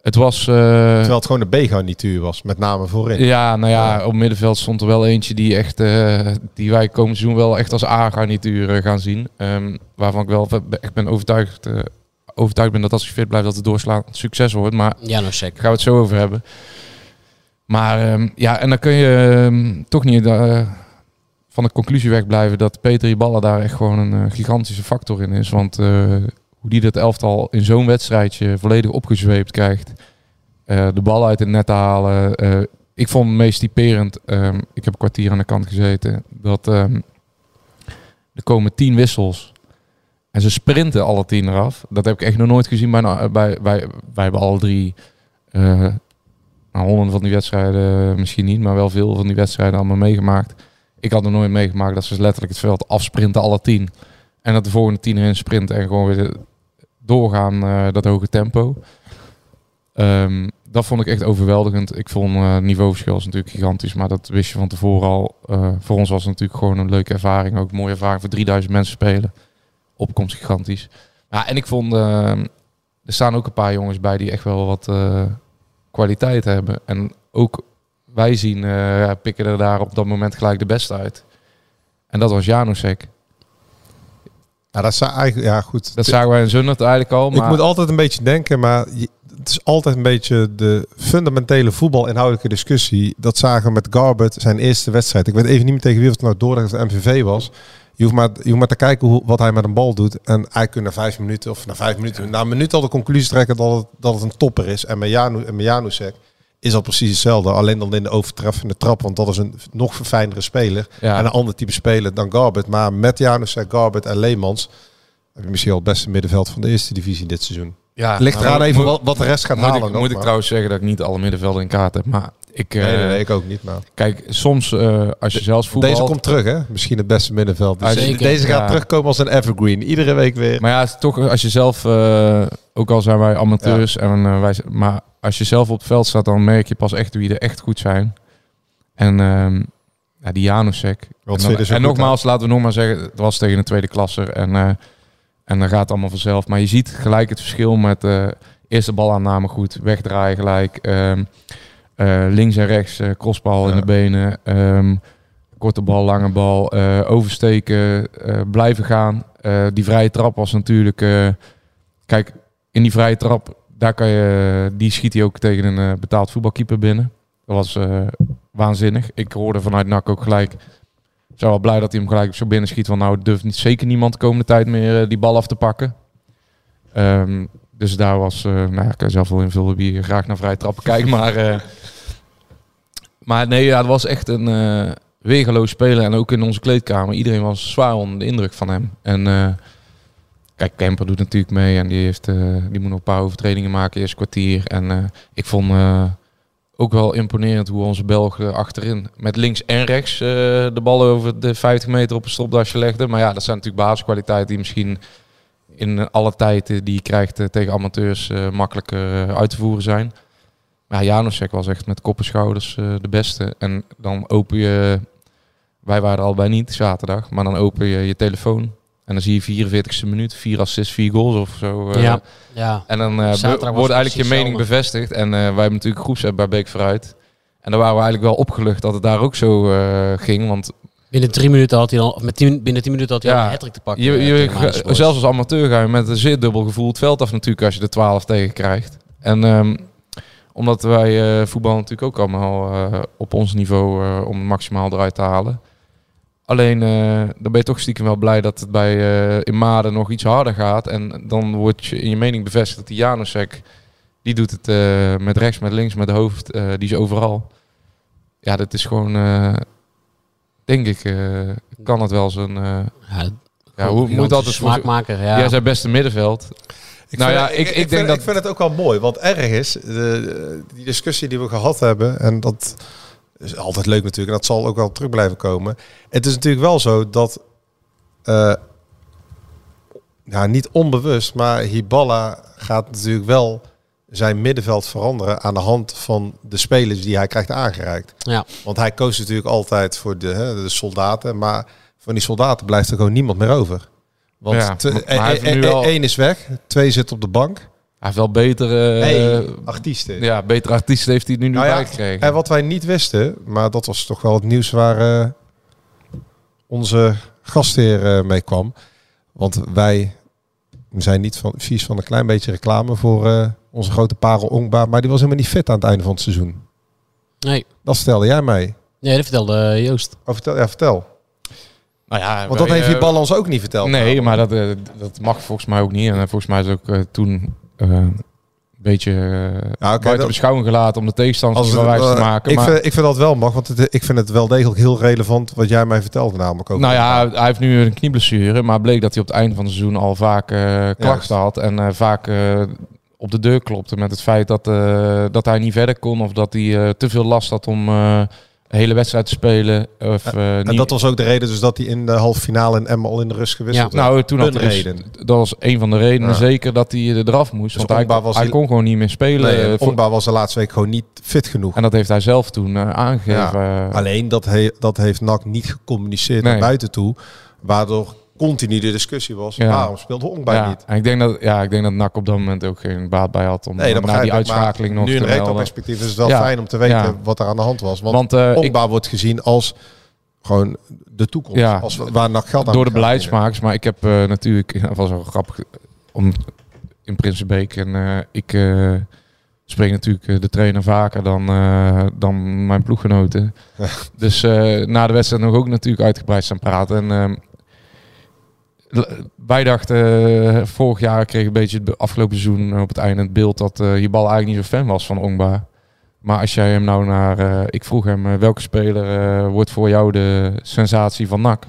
S9: het was... eh,
S8: Terwijl het gewoon een B-garnituur was, met name voorin.
S9: ja, nou ja, op middenveld stond er wel eentje die echt, eh, die wij komend seizoen wel echt als A-garnituur eh, gaan zien. Ehm, waarvan ik wel ve- echt ben overtuigd, eh, overtuigd ben dat als hij fit blijft, dat het doorslaat succes wordt. Maar
S7: Ja, nou
S9: daar
S7: zeker.
S9: gaan we het zo over hebben. Maar ehm, ja, en dan kun je ehm, toch niet eh, van de conclusie wegblijven dat Peter Iballa daar echt gewoon een eh, gigantische factor in is. Want eh, hoe die dat elftal in zo'n wedstrijdje volledig opgezweept krijgt. eh, de bal uit het net halen. eh, ik vond het meest typerend, ehm, ik heb een kwartier aan de kant gezeten, dat ehm, er komen tien wissels. En ze sprinten alle tien eraf. Dat heb ik echt nog nooit gezien bij, een- bij, bij wij hebben alle drie eh, nou, honderden van die wedstrijden eh, misschien niet, maar wel veel van die wedstrijden allemaal meegemaakt. Ik had nog nooit meegemaakt dat ze letterlijk het veld afsprinten, alle tien. En dat de volgende tien erin sprint en gewoon weer doorgaan, eh, dat hoge tempo. Ehm, dat vond ik echt overweldigend. Ik vond eh niveauverschil is natuurlijk gigantisch, maar dat wist je van tevoren al. Eh, voor ons was het natuurlijk gewoon een leuke ervaring. Ook een mooie ervaring voor 3000 mensen spelen. Opkomst gigantisch. Ja, en ik vond, ehm, er staan ook een paar jongens bij die echt wel wat eh, kwaliteit hebben. En ook wij zien, eh, ja, pikken er daar op dat moment gelijk de beste uit. En dat was Janusek.
S8: Ja, dat zou eigenlijk, ja goed.
S9: Dat zagen wij in Zundert eigenlijk al. Maar
S8: Ik moet altijd een beetje denken, maar je- het is altijd een beetje de fundamentele voetbalinhoudelijke discussie. Dat zagen we met Garbert zijn eerste wedstrijd. Ik weet even niet meer tegen wie of het nou Dordrecht of MVV was. Je hoeft maar, je hoeft maar te kijken hoe, wat hij met een bal doet. En eigenlijk kun je na vijf minuten of na vijf minuten, na een minuut al de conclusie trekken dat het, dat het een topper is. En met Janu- en met Janusek is dat precies hetzelfde. Alleen dan in de overtreffende trap, want dat is een nog verfijndere speler.
S9: Ja.
S8: En een ander type speler dan Garbert. Maar met Janusek, Garbert en Leemans heb je misschien al het beste middenveld van de eerste divisie dit seizoen.
S9: ja,
S8: Ligt
S9: nou,
S8: eraan
S9: moet-
S8: even wat, wat de rest gaat
S9: Moet,
S8: halen.
S9: ik,
S8: nog,
S9: moet ik
S8: maar.
S9: trouwens zeggen dat ik niet alle middenvelden in kaart heb. Maar ik, eh,
S8: Nee, nee, nee, ik ook niet. Maar.
S9: kijk, soms eh, als je zelfs voetbal...
S8: Deze komt terug, hè? Misschien het beste middenveld. Dus
S9: Zeker,
S8: deze gaat
S9: ja.
S8: terugkomen als een evergreen. Iedere week weer.
S9: Maar ja, het is toch als je zelf, eh, ook al zijn wij amateurs, en, eh, wij, z- maar als je zelf op het veld staat, dan merk je pas echt wie er echt goed zijn. En ehm ja, die Janusek.
S8: Wat
S9: en
S8: vind je zo
S9: en
S8: goed
S9: nogmaals, laten we nog maar zeggen, het was tegen een tweede klasser en, eh, en dan gaat het allemaal vanzelf. Maar je ziet gelijk het verschil met eh eerste balaanname goed, wegdraaien gelijk, ehm, eh, links en rechts, eh, crossbal in
S8: Ja.
S9: de benen. ehm, Korte bal, lange bal, eh, oversteken, eh, blijven gaan. Eh, die vrije trap was natuurlijk... eh, kijk, in die vrije trap, daar kan je, die schiet hij ook tegen een eh, betaald voetbalkeeper binnen. Dat was eh, waanzinnig. Ik hoorde vanuit NAC ook gelijk... Ik zou wel blij dat hij hem gelijk zo binnen schiet. Want nou durft niet, zeker niemand de komende tijd meer eh, die bal af te pakken. Ehm, dus daar was... eh nou ja, ik kan zelf wel invullen wie graag naar vrije trappen kijkt. Maar, eh, maar nee, ja, het was echt een... eh, weergeloos spelen. En ook in onze kleedkamer. Iedereen was zwaar onder de indruk van hem. En eh, Kijk, Kemper doet natuurlijk mee en die, heeft, eh, die moet nog een paar overtredingen maken, eerst kwartier. En eh, ik vond eh, ook wel imponerend hoe onze Belg eh, achterin met links en rechts eh, de bal over de 50 meter op een stopdasje legde. Maar ja, dat zijn natuurlijk basiskwaliteiten die misschien in alle tijd eh, die je krijgt eh, tegen amateurs eh, makkelijker eh, uit te voeren zijn. Maar Janosek was echt met kop en schouders eh, de beste. En dan open je, wij waren er allebei niet zaterdag, maar dan open je je telefoon. En dan zie je 44ste minuut, 4 assists, 4 goals of zo. eh.
S7: ja. ja.
S9: En dan eh, be-
S7: Zaterdag was
S9: wordt
S7: het
S9: eigenlijk je
S7: precies
S9: mening bevestigd. En eh, wij hebben natuurlijk groepsapp bij Beek vooruit. En daar waren we eigenlijk wel opgelucht dat het daar ook zo eh, ging. Want
S7: Binnen drie minuten had hij dan, of met tien, binnen tien minuten had hij
S9: Ja.
S7: al een hattrick te pakken.
S9: je,
S7: eh,
S9: je,
S7: tegen Maarten
S9: ge-
S7: Schoors.
S9: zelfs als amateur ga je met een zeer dubbel gevoel het veld af natuurlijk als je de 12 tegen krijgt. En ehm, omdat wij eh voetbal natuurlijk ook allemaal eh, op ons niveau eh, om het maximaal eruit te halen. Alleen eh, dan ben je toch stiekem wel blij dat het bij eh, in Maden nog iets harder gaat. En dan wordt je in je mening bevestigd dat die Janusek, die doet het eh, met rechts, met links, met hoofd. eh, die is overal. Ja, dat is gewoon, eh, denk ik, eh, kan het wel zijn... eh,
S7: Ja,
S9: ja, hoe moet
S7: gigantische
S9: dat dus voor-
S7: smaakmaker? Ja.
S9: Jij zijn beste middenveld.
S8: Ik
S9: Nou
S8: vind-
S9: ja, ik- ik denk
S8: vind,
S9: dat-
S8: ik vind het ook wel mooi, want erg is, de, die discussie die we gehad hebben, en dat is altijd leuk natuurlijk, en dat zal ook wel terug blijven komen. Het is natuurlijk wel zo dat, eh, ja, niet onbewust, maar Hiballa gaat natuurlijk wel zijn middenveld veranderen aan de hand van de spelers die hij krijgt aangereikt.
S7: Ja.
S8: Want hij koos natuurlijk altijd voor de, hè, de soldaten, maar van die soldaten blijft er gewoon niemand meer over. Want
S9: Ja,
S8: te-
S9: maar
S8: eh,
S9: hij heeft
S8: eh,
S9: nu
S8: eh,
S9: wel-
S8: één is weg, twee zit op de bank.
S9: Hij heeft wel beter, eh,
S8: Hey, artiesten.
S9: ja, beter artiesten heeft hij nu
S8: Nou
S9: nu
S8: ja,
S9: bijgekregen.
S8: En wat wij niet wisten, maar dat was toch wel het nieuws waar eh, onze gastheer eh, mee kwam. Want wij zijn niet van, vies van een klein beetje reclame voor eh, onze grote parel Ongba. Maar die was helemaal niet fit aan het einde van het seizoen.
S7: Nee.
S8: Dat stelde jij mij.
S7: nee, dat vertelde eh, Joost.
S8: Oh, vertel, ja, vertel.
S9: nou ja,
S8: Want dat
S9: wij,
S8: heeft die
S9: eh,
S8: bal ons ook niet verteld. Nou,
S9: Nee, maar dat, eh, dat mag volgens mij ook niet. En eh, volgens mij is ook eh, toen eh, een beetje eh, buiten
S8: Nou, dat-
S9: beschouwing gelaten om de tegenstanders van wijs te
S8: eh,
S9: maken.
S8: ik,
S9: maar,
S8: vind, ik vind dat wel mag, want het, ik vind het wel degelijk heel relevant wat jij mij vertelde namelijk ook.
S9: nou ja, hij heeft nu een knieblessure, maar bleek dat hij op het einde van het seizoen al vaak eh,
S8: Juist.
S9: klachten had. En eh, vaak eh, op de deur klopte met het feit dat, eh, dat hij niet verder kon of dat hij eh, te veel last had om... eh, een hele wedstrijd te spelen. Of, eh,
S8: en
S9: niet-
S8: dat was ook de reden dus dat hij in de halve finale in Emmen al in de rust gewisseld werd.
S9: Nou, toen had
S8: Een
S9: hij dus-
S8: reden.
S9: dat was een van de redenen
S8: Ja.
S9: zeker dat hij er eraf moest.
S8: Dus
S9: want hij,
S8: Ogba was
S9: hij
S8: die-
S9: kon gewoon niet meer spelen.
S8: Nee,
S9: eh,
S8: en
S9: voor-
S8: Pogba was de laatste week gewoon niet fit genoeg.
S9: en dat heeft hij zelf toen eh, aangegeven. eh,
S8: Alleen dat, he- dat heeft NAC niet gecommuniceerd
S9: Nee.
S8: naar buiten toe. Waardoor continu de discussie was,
S9: Ja.
S8: waarom speelde Hongba
S9: ja, Nou,
S8: niet?
S9: En ik denk dat, ja, ik denk dat NAC op dat moment ook geen baat bij had om
S8: Nee,
S9: eh,
S8: dat
S9: na
S8: begrijp
S9: die
S8: ik. maar
S9: uitschakeling nog
S8: nu
S9: te
S8: in
S9: melden.
S8: retroperspectief is het wel
S9: Ja.
S8: fijn om te weten
S9: Ja.
S8: wat er aan de hand was. Want,
S9: Want eh, ik,
S8: Pogba wordt gezien als gewoon de toekomst.
S9: Ja.
S8: Als, waar NAC geld aan
S9: door de
S8: gaat verdienen.
S9: beleidsmakers, maar ik heb eh, natuurlijk, dat was wel grappig, eh, om, in Prinsenbeek en eh, ik eh, spreek natuurlijk eh, de trainer vaker dan, eh, dan mijn ploeggenoten. Dus eh, na de wedstrijd nog ook natuurlijk uitgebreid staan praten. En, ehm, l- wij dachten, eh, vorig jaar kreeg ik een beetje het be- afgelopen seizoen eh, op het einde het beeld dat eh, je bal eigenlijk niet zo fan was van Ongba. Maar als jij hem nou naar, eh, ik vroeg hem eh, welke speler eh, wordt voor jou de sensatie van NAC?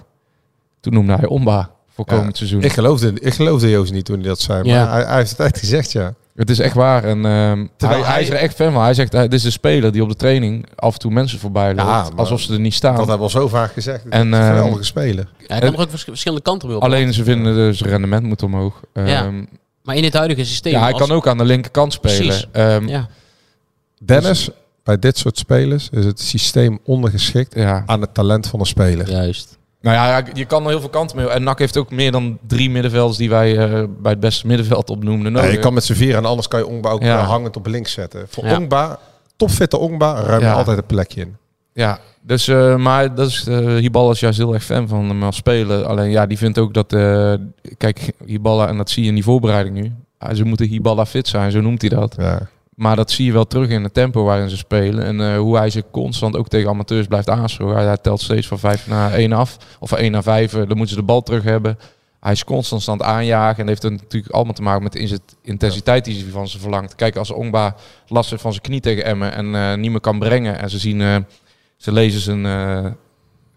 S9: Toen noemde hij Omba voor
S8: Ja,
S9: komend seizoen.
S8: Ik geloofde, ik geloofde Joost niet toen hij dat zei. Maar
S7: Ja.
S8: hij, hij heeft het echt gezegd, ja.
S9: Het is echt waar. En, ehm, hij,
S8: Terwijl
S9: hij is er
S8: hij-
S9: echt fan van. Hij zegt, hij- dit is een speler die op de training af en toe mensen voorbij loopt.
S8: Ja, maar-
S9: alsof ze er niet staan.
S8: Dat hebben we al zo vaak gezegd. Het
S9: En,
S8: is een
S9: eh,
S8: geweldige speler.
S7: Ja, hij kan er ook vers- verschillende kanten mee op.
S9: Alleen ze vinden dus rendement moet omhoog. Ehm,
S7: Ja. Maar in het huidige systeem.
S9: ja, hij
S7: als-
S9: kan ook aan de linkerkant
S7: Precies.
S9: spelen. Ehm, ja.
S7: Ja.
S8: Dennis, bij dit soort spelers is het systeem ondergeschikt aan het talent van een speler.
S7: Juist.
S9: Nou ja, ja, je kan er heel veel kanten mee. En NAC heeft ook meer dan drie middenvelders die wij eh, bij het beste middenveld opnoemden. Nou,
S8: Ja,
S9: nodig.
S8: je kan met z'n vieren en anders kan je Ongba ook
S9: Ja.
S8: eh, hangend op links zetten. Voor
S7: Ja.
S8: Ongba, topfitte Ongba, ruim je
S9: Ja.
S8: altijd een plekje in.
S9: Ja, dus, eh, maar dat is, eh Hiballa is juist heel erg fan van hem als speler. Alleen ja, die vindt ook dat, eh, kijk, Hiballa, en dat zie je in die voorbereiding nu. Ah, ze moeten Hiballa fit zijn, zo noemt hij dat.
S8: Ja.
S9: Maar dat zie je wel terug in het tempo waarin ze spelen. En eh, hoe hij ze constant ook tegen amateurs blijft aanschouwen. Hij, hij telt steeds van 5 naar 1 af. Of van 1 naar 5. Dan moeten ze de bal terug hebben. Hij is constant aan het aanjagen. En dat heeft er natuurlijk allemaal te maken met de inzet- intensiteit die ze van ze verlangt. Kijk, als Ongba last heeft van zijn knie tegen Emmen en eh, niet meer kan brengen. En ze zien, eh, ze lezen zijn, eh,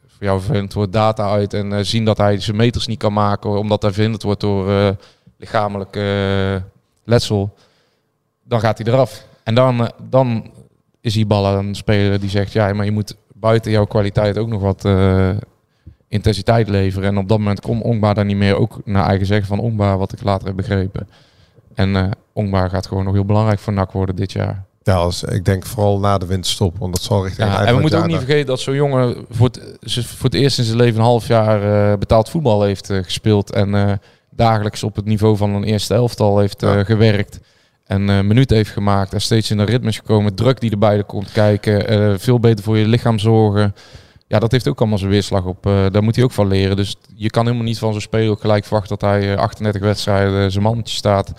S9: voor jou vervelend woord, data uit. En eh, zien dat hij zijn meters niet kan maken omdat hij verhinderd wordt door eh, lichamelijk eh, letsel, dan gaat hij eraf. En dan, eh, dan is die bal aan een speler die zegt, ja, maar je moet buiten jouw kwaliteit ook nog wat eh, intensiteit leveren. En op dat moment kon Ongba daar niet meer, ook naar eigen zeggen van Ongba, wat ik later heb begrepen. En eh Ongba gaat gewoon nog heel belangrijk voor NAC worden dit jaar.
S8: Ja, als, ik denk vooral na de winterstop, want dat zal richting het
S9: Ja,
S8: eind
S9: en we
S8: van het
S9: moeten ook
S8: jaar
S9: niet
S8: dan-
S9: vergeten dat zo'n jongen voor het, ze- voor het eerst in zijn leven een half jaar eh, betaald voetbal heeft eh, gespeeld. En eh, dagelijks op het niveau van een eerste elftal heeft eh,
S8: Ja.
S9: gewerkt. En eh, minuten heeft gemaakt. En steeds in een ritme is gekomen. Druk die erbij komt kijken. eh, veel beter voor je lichaam zorgen. Ja, dat heeft ook allemaal zijn weerslag op. eh, daar moet hij ook van leren. Dus je kan helemaal niet van zo'n speler ook gelijk verwachten dat hij eh, 38 wedstrijden eh, zijn mannetje staat.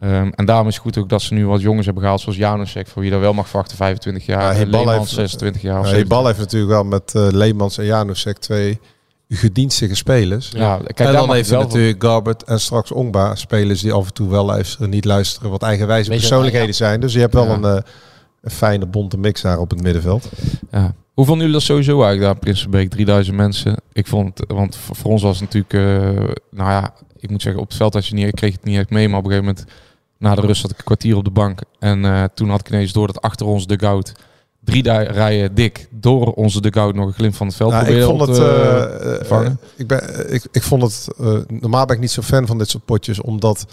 S9: Ehm, en daarom is het goed ook dat ze nu wat jongens hebben gehaald, zoals Janusek, voor wie daar wel mag verwachten, 25 jaar.
S8: Ja,
S9: Ja,
S8: Hiballa
S9: Leemans,
S8: heeft-
S9: 26 jaar. of
S8: Ja, die
S9: 17.
S8: bal heeft natuurlijk wel met eh, Leemans en Janusek twee gedienstige spelers.
S9: Ja, kijk, daar
S8: en
S9: mag
S8: dan
S9: je
S8: heeft
S9: wel
S8: natuurlijk Garbert en straks Ongba spelers die af en toe wel luisteren, niet luisteren, wat eigenwijze
S7: Beetje-
S8: persoonlijkheden zijn. Dus je hebt wel
S9: Ja.
S8: een, eh, een fijne bonte mix daar op het middenveld.
S9: van- Ja. Hoe vonden jullie dat sowieso eigenlijk daar, in Prinsenbeek? 3000 mensen. Ik vond het, want voor voor ons was het natuurlijk, eh, nou ja, ik moet zeggen, op het veld had je niet, kreeg je het niet echt mee, maar op een gegeven moment, na de rust zat ik een kwartier op de bank. En eh, toen had ik ineens door dat achter ons dugout, drie da- rijen dik, door onze dugout nog een glimp van het veld
S8: Nou, ik
S9: probeerde
S8: vond
S9: op
S8: het.
S9: te-
S8: eh, eh,
S9: vangen.
S8: ik, ben, ik, ik vond het. eh, normaal ben ik niet zo fan van dit soort potjes, omdat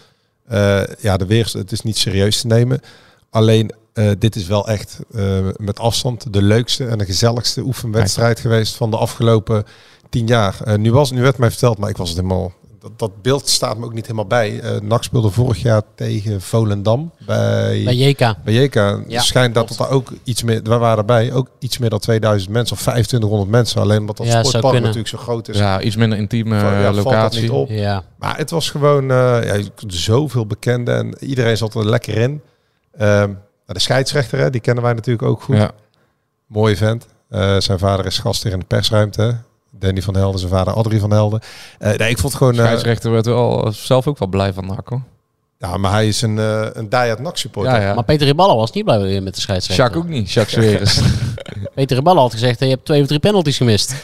S8: eh, ja, de weer, het is niet serieus te nemen. Alleen eh, dit is wel echt eh, met afstand de leukste en de gezelligste oefenwedstrijd geweest van de afgelopen tien jaar. Eh, nu, was, nu werd mij verteld, maar ik was het helemaal. Dat, dat beeld staat me ook niet helemaal bij. Eh NAC speelde vorig jaar tegen Volendam bij,
S7: Bij JK.
S8: bij Jeka
S7: Ja,
S8: schijnt dat
S7: klopt.
S8: het daar ook iets meer, we waren erbij, ook iets meer dan 2000 mensen of 2500 mensen. Alleen omdat dat
S7: Ja, zou
S8: sportpark
S7: kunnen.
S8: natuurlijk zo groot is.
S9: ja, iets minder intieme
S8: van, ja,
S9: eh,
S8: valt dat niet
S9: locatie.
S8: op.
S7: Ja.
S8: Maar het was gewoon eh, ja, je kunt zoveel bekenden en iedereen zat er lekker in. Ehm, de scheidsrechter, hè, die kennen wij natuurlijk ook goed.
S9: Ja.
S8: Mooie vent. Eh, zijn vader is gast hier in de persruimte. hè. Danny van Helden, zijn vader Adrie van Helden. Eh, nee, ik vond het gewoon... eh,
S9: Scheidsrechter werd wel zelf ook wel blij van NAC hoor.
S8: ja, maar hij is een, eh een diehard NAC supporter.
S9: Ja, ja.
S7: Maar Peter Riballa was niet blij met de scheidsrechter.
S9: Sjaak ook niet, Sjaak Sveres.
S7: Peter Riballa had gezegd, hey, je hebt twee of drie penalties gemist.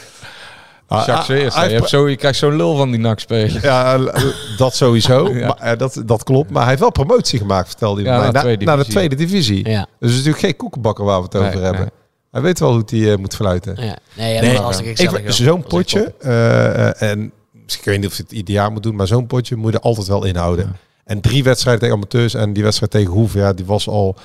S8: Ah,
S9: Sjaak
S8: ah,
S9: Sveres,
S8: hij
S9: hè. je,
S8: heeft
S9: hebt zo, je krijgt zo'n lul van die nak spelen.
S8: Ja, l- dat sowieso.
S9: Ja.
S8: Maar, eh, dat, dat klopt. Maar hij heeft wel promotie gemaakt, vertelde hij
S9: Ja,
S8: mij.
S9: naar
S8: Na-
S9: tweede
S8: naar de
S9: divisie.
S8: tweede divisie.
S7: Ja.
S8: Dus het is natuurlijk geen koekenbakker waar we het
S9: Nee,
S8: over hebben.
S9: nee.
S8: Hij weet wel hoe hij eh, moet fluiten.
S7: Ja. Nee, ja,
S8: Nee,
S7: dat was hartstikke
S8: Ik
S7: gezellig,
S8: vind
S7: joh.
S8: Zo'n
S7: Dat was echt top.
S8: potje, eh, eh, en misschien ik weet niet of je het ieder jaar moet doen, maar zo'n potje moet je er altijd wel inhouden. En drie wedstrijden tegen amateurs en die wedstrijd tegen Hoeven, ja, die was al...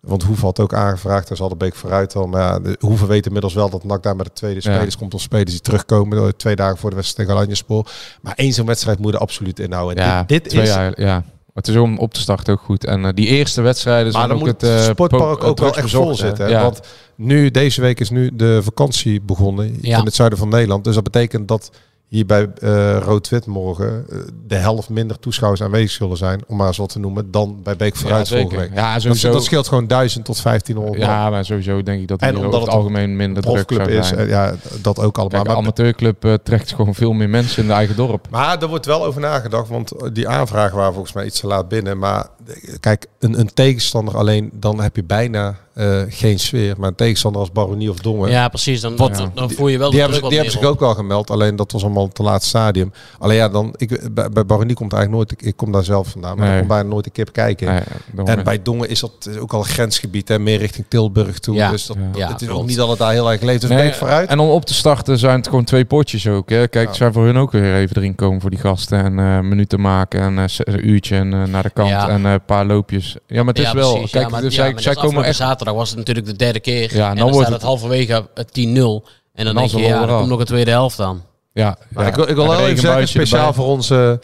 S8: Want Hoeven had ook aangevraagd, daar zal de Beek vooruit al. Maar ja, de- Hoeven weet inmiddels wel dat NAC daar met de tweede
S9: Ja.
S8: spelers komt. Of spelers die terugkomen eh, twee dagen voor de wedstrijd tegen Alanjespoor. Maar één zo'n wedstrijd moet je er absoluut inhouden. En
S9: Ja,
S8: dit dit
S9: twee
S8: is,
S9: jaar. Ja. Maar Het is om op te starten ook goed. En eh, die eerste wedstrijden
S8: maar
S9: zijn
S8: dan
S9: ook
S8: moet het,
S9: het, eh, po-
S8: sportpark
S9: eh,
S8: ook wel echt
S9: drugsbezocht,
S8: vol
S9: hè.
S8: zitten. hè?
S9: Ja.
S8: Want nu, deze week is nu de vakantie begonnen
S7: Ja.
S8: in het zuiden van Nederland. Dus dat betekent dat hier bij eh Rood-Wit morgen eh, de helft minder toeschouwers aanwezig zullen zijn. Om maar eens wat te noemen, dan bij Beek
S9: ja,
S8: vooruit vorige
S9: zeker.
S8: week. Dus
S9: Ja,
S8: Dat,
S9: sowieso.
S8: dat scheelt gewoon 1000 tot 1500 man.
S9: ja, maar sowieso denk ik dat
S8: En
S9: hier over
S8: omdat
S9: het
S8: het een
S9: algemeen minder druk
S8: profclub
S9: zou
S8: is.
S9: zijn.
S8: eh, ja, dat ook allemaal.
S9: Kijk, een
S8: Maar-
S9: amateurclub eh, trekt gewoon veel meer mensen in de eigen dorp.
S8: Maar er wordt wel over nagedacht, want die aanvragen waren volgens mij iets te laat binnen. Maar eh, kijk, een, een tegenstander alleen, dan heb je bijna eh, geen sfeer. Maar een tegenstander als Baronie of Dongen,
S7: Ja, precies. Dan, dan, dan voel je wel
S8: die
S7: de
S8: hebben,
S7: druk
S8: zich-
S7: wat
S8: die hebben
S7: meer
S8: zich ook al gemeld, alleen dat was allemaal te laat stadium. Alleen ja, dan, ik, bij, bij Baronie komt eigenlijk nooit, ik kom daar zelf vandaan, maar
S9: Nee.
S8: ik kom bijna nooit een kip kijken.
S9: Nee, daarom-
S8: En bij Dongen is dat ook al een grensgebied, hè, meer richting Tilburg toe.
S7: Ja.
S8: Dus dat,
S9: Ja.
S8: dat-
S7: Ja,
S8: het is
S7: klopt.
S8: ook niet dat het daar heel erg leeft. Dus
S9: Nee,
S8: Beek vooruit. Oh.
S9: En om op te starten zijn het gewoon twee potjes ook. Hè. Kijk, het zijn voor hun ook weer even erin komen voor die gasten. En eh, minuten maken en eh, z- een uurtje en, eh, naar de kant
S7: Ja.
S9: en eh, een paar loopjes. Ja, maar het is
S7: Ja,
S9: wel...
S7: precies.
S9: kijk,
S7: ja, maar,
S9: dus
S7: ja,
S9: zij,
S7: maar
S9: zij
S7: dat is
S9: komen
S7: afgelopen
S9: echt...
S7: zaterdag was het natuurlijk de derde keer.
S9: Ja,
S7: en
S9: en
S7: dan,
S9: dan
S7: staat
S9: wordt
S7: het halverwege het 10-0. En dan
S9: Dan
S7: denk
S9: is
S7: je,
S9: het
S7: ja,
S9: wel
S7: er
S9: raar.
S7: komt nog een tweede helft aan.
S9: Ja,
S8: Maar
S9: ja.
S8: ik wil, ik wil
S9: Een
S8: wel even zeggen,
S9: regenbuitje
S8: speciaal
S9: erbij.
S8: voor onze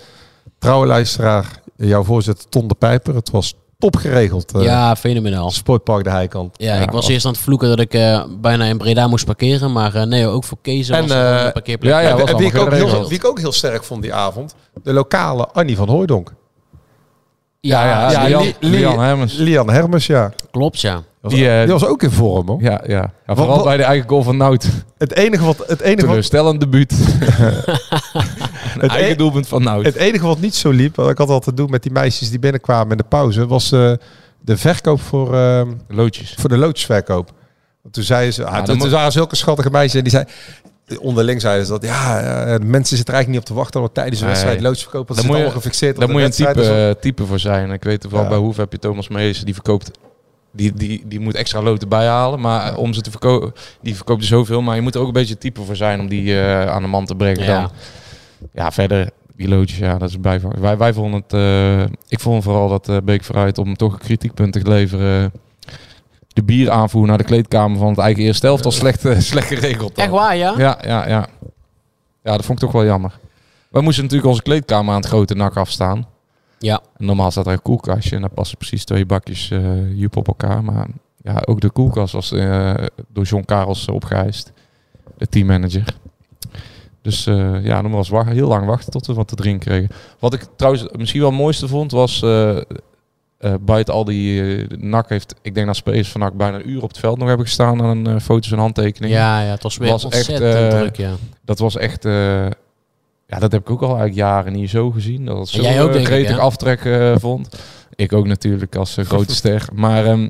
S8: trouwe luisteraar, jouw voorzitter Ton de Pijper. Het was top geregeld, eh,
S7: ja, fenomenaal.
S8: Sportpark de Heikant.
S7: Ja,
S9: Ja,
S7: ik was
S9: als-
S7: eerst aan het vloeken dat ik eh, bijna in Breda moest parkeren. Maar eh, nee, ook voor Kees was
S8: En,
S7: er gewoon
S8: eh,
S7: een parkeerplek.
S9: ja, ja,
S8: En-
S9: was
S8: en wie, ik
S9: allemaal
S8: ook heel,
S9: geregeld.
S8: wie ik ook heel sterk vond die avond, de lokale Annie van Hooydonk.
S9: Ja, ja,
S8: Ja,
S9: Lian,
S8: Li- Li-
S9: Oh, Lian Hemmers.
S8: Lian Hermes, ja.
S7: Klopt, ja.
S8: Was-
S9: Die, eh,
S8: die was ook in vorm, hoor.
S9: Ja, ja. ja vooral
S8: wat-
S9: bij de eigen goal van Nout.
S8: Het enige wat, het enige wat,
S9: Teleurstellend debuut. Een
S8: Het
S9: eigen
S8: e-
S9: doelpunt van Nout.
S8: het enige wat niet zo liep, wat ik altijd had te doen met die meisjes die binnenkwamen in de pauze, was eh, de verkoop voor, ehm,
S9: Loodjes.
S8: voor de loodsverkoop. Want Toen, zeiden ze, ah,
S9: dan
S8: toen,
S9: moet-
S8: toen waren zulke schattige meisjes en die zei... onderling zeiden ze dat, ja, eh, de mensen zitten er eigenlijk niet op te wachten, want tijdens de
S9: Nee.
S8: wedstrijd loodjes verkopen, want ze
S9: Dan
S8: zitten
S9: moet
S8: allemaal gefixeerd op
S9: Daar
S8: de
S9: moet je een
S8: wedstrijd.
S9: type,
S8: Dus
S9: eh, type voor zijn. Ik weet ervan,
S8: Ja.
S9: bij Hoef heb je Thomas Mees, die verkoopt... Die, die, die moet extra loten bijhalen, maar eh, om ze te verkopen, die verkoopt er zoveel. Maar je moet er ook een beetje type voor zijn om die eh, aan de man te brengen.
S7: Ja.
S9: Dan. ja verder, die loodjes, ja, dat is bijvang. Wij, wij vonden het, eh, ik vond vooral dat eh, Beek vooruit om toch een kritiekpunt te leveren. De bieraanvoer naar de kleedkamer van het eigen eerste helft was slecht, eh, slecht geregeld. dan.
S7: Echt waar, ja?
S9: Ja, ja, ja. Ja, dat vond ik toch wel jammer. We moesten natuurlijk onze kleedkamer aan het grote nak afstaan.
S7: Ja.
S9: En normaal staat er een koelkastje en daar passen precies twee bakjes eh jup op elkaar. Maar ja, ook de koelkast was eh, door John Karels opgeëist, de teammanager. Dus eh, ja, dan was wa- heel lang wachten tot we wat te drinken kregen. Wat ik trouwens misschien wel het mooiste vond was, eh, eh, buiten al die eh, nak heeft, ik denk dat spelers van NAC bijna een uur op het veld nog hebben gestaan aan eh, foto's en handtekeningen.
S7: Ja, ja, het was weer
S9: Was echt,
S7: ontzettend
S9: eh,
S7: druk, ja.
S9: Dat was echt. eh, ja, dat heb ik ook al eigenlijk jaren niet zo gezien. Dat het zo
S7: Jij ook,
S9: eh,
S7: denk ik,
S9: gretig
S7: hè?
S9: aftrek eh, vond. Ik ook natuurlijk als eh, grote ster. Maar ehm,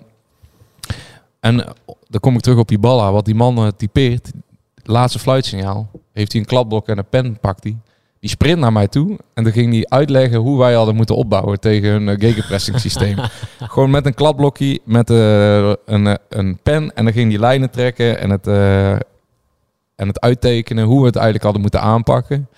S9: en eh, dan kom ik terug op die balla. Wat die man eh, typeert. Laatste fluitsignaal. Heeft hij een klapblok en een pen pakt hij. Die sprint naar mij toe. En dan ging hij uitleggen hoe wij hadden moeten opbouwen tegen hun uh, gegenpressing systeem. Gewoon met een klapblokje, met eh, een, eh, een pen. En dan ging die lijnen trekken en het, eh, en het uittekenen hoe we het eigenlijk hadden moeten aanpakken.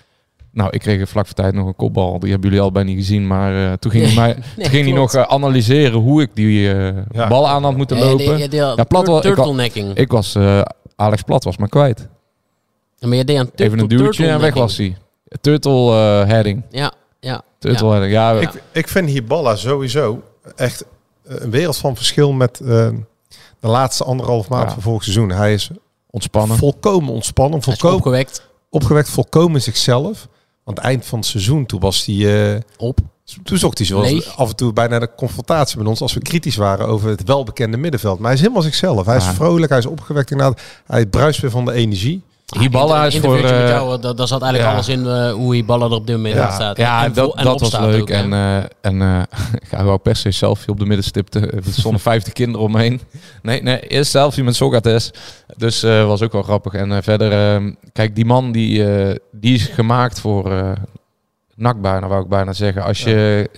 S9: Nou, ik kreeg vlak voor tijd nog een kopbal. Die hebben jullie al bijna niet gezien. Maar eh, toen ging, hij, mij, toen ging hij nog
S7: klopt.
S9: eh, analyseren hoe ik die eh,
S8: Ja.
S9: bal aan had moeten lopen.
S7: Ja, je deed aan
S9: Ja, plat wel- ik wa-
S7: turtlenecking.
S9: Ik was, eh, Alex Plat was maar kwijt.
S7: Ja, maar je deed aan turtle,
S9: Even een duwtje en weg
S7: turtlenecking.
S9: was hij. Turtle eh, heading.
S7: Ja, ja.
S9: Turtle heading. Ja, we-
S8: Ik, ik vind Hiballa sowieso echt eh, een wereld van verschil met eh, de laatste anderhalf maand
S9: Ja.
S8: van vorig seizoen. Hij is
S9: ontspannen.
S8: volkomen ontspannen,
S7: Hij is
S8: volkomen
S7: opgewekt.
S8: opgewekt, volkomen zichzelf. Want eind van het seizoen, toen was hij... eh,
S7: Op.
S8: toen zocht hij zoals
S7: Leeg.
S8: af en toe bijna de confrontatie met ons als we kritisch waren over het welbekende middenveld. Maar hij is helemaal zichzelf. Hij is
S9: Ja.
S8: vrolijk, hij is opgewekt inderdaad. Hij bruist weer van de energie.
S7: Ah,
S9: Hiballa is voor...
S7: Interviewtje met
S9: eh,
S7: jou, daar, daar zat eigenlijk
S9: ja.
S7: alles in eh, hoe Hiballa er op dit moment
S8: Ja,
S7: op staat.
S9: ja,
S7: En
S9: dat,
S7: voor- en
S9: dat
S7: op
S9: was
S7: staat
S9: leuk.
S7: ook, hè.
S9: en eh, en eh, ik wou per se selfie op de middenstip. te- Er stonden 50 kinderen omheen. Nee, nee, eerst selfie met Socrates. Dus eh, was ook wel grappig. En eh, verder, eh, kijk, die man die, eh, die is gemaakt voor eh NAC bijna, wou ik bijna zeggen. Als je...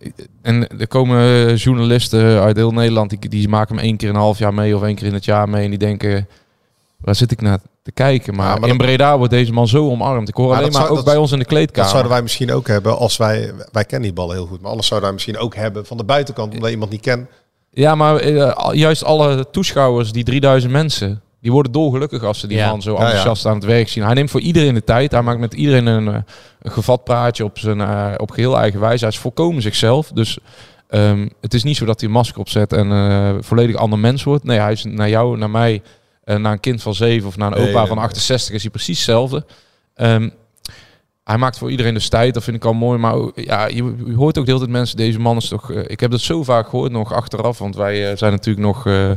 S9: eh, En er komen journalisten uit heel Nederland, die, die maken hem één keer in een half jaar mee of één keer in het jaar mee. En die denken, waar zit ik naar te kijken? Maar,
S8: Ja, maar
S9: in
S8: dat-
S9: Breda wordt deze man zo omarmd. Ik hoor
S8: Maar
S9: alleen
S8: dat
S9: maar
S8: zou-
S9: ook
S8: dat-
S9: bij ons in de
S8: Dat
S9: kleedkamer.
S8: zouden wij misschien ook hebben als wij... Wij kennen die ballen heel goed, maar anders zouden wij misschien ook hebben van de buitenkant, omdat iemand niet kent.
S9: Ja, maar eh, al- juist alle toeschouwers, die 3000 mensen, die worden dolgelukkig als ze die
S7: Ja.
S9: man zo
S8: ja.
S9: enthousiast aan het werk zien. Hij neemt voor iedereen de tijd. Hij maakt met iedereen een, eh, een gevat praatje op, zijn, eh, op geheel eigen wijze. Hij is volkomen zichzelf. Dus ehm, het is niet zo dat hij een masker opzet en eh, volledig ander mens wordt. Nee, hij is naar jou, naar mij, eh, naar een kind van 7 of naar een
S8: Nee,
S9: opa
S8: nee,
S9: van
S8: nee.
S9: 68 is hij precies hetzelfde. Ehm, hij maakt voor iedereen dus tijd, dat vind ik al mooi. Maar ook- ja, je, je hoort ook de hele tijd mensen, deze man is toch... eh, ik heb dat zo vaak gehoord nog achteraf, want wij eh, zijn natuurlijk nog... eh,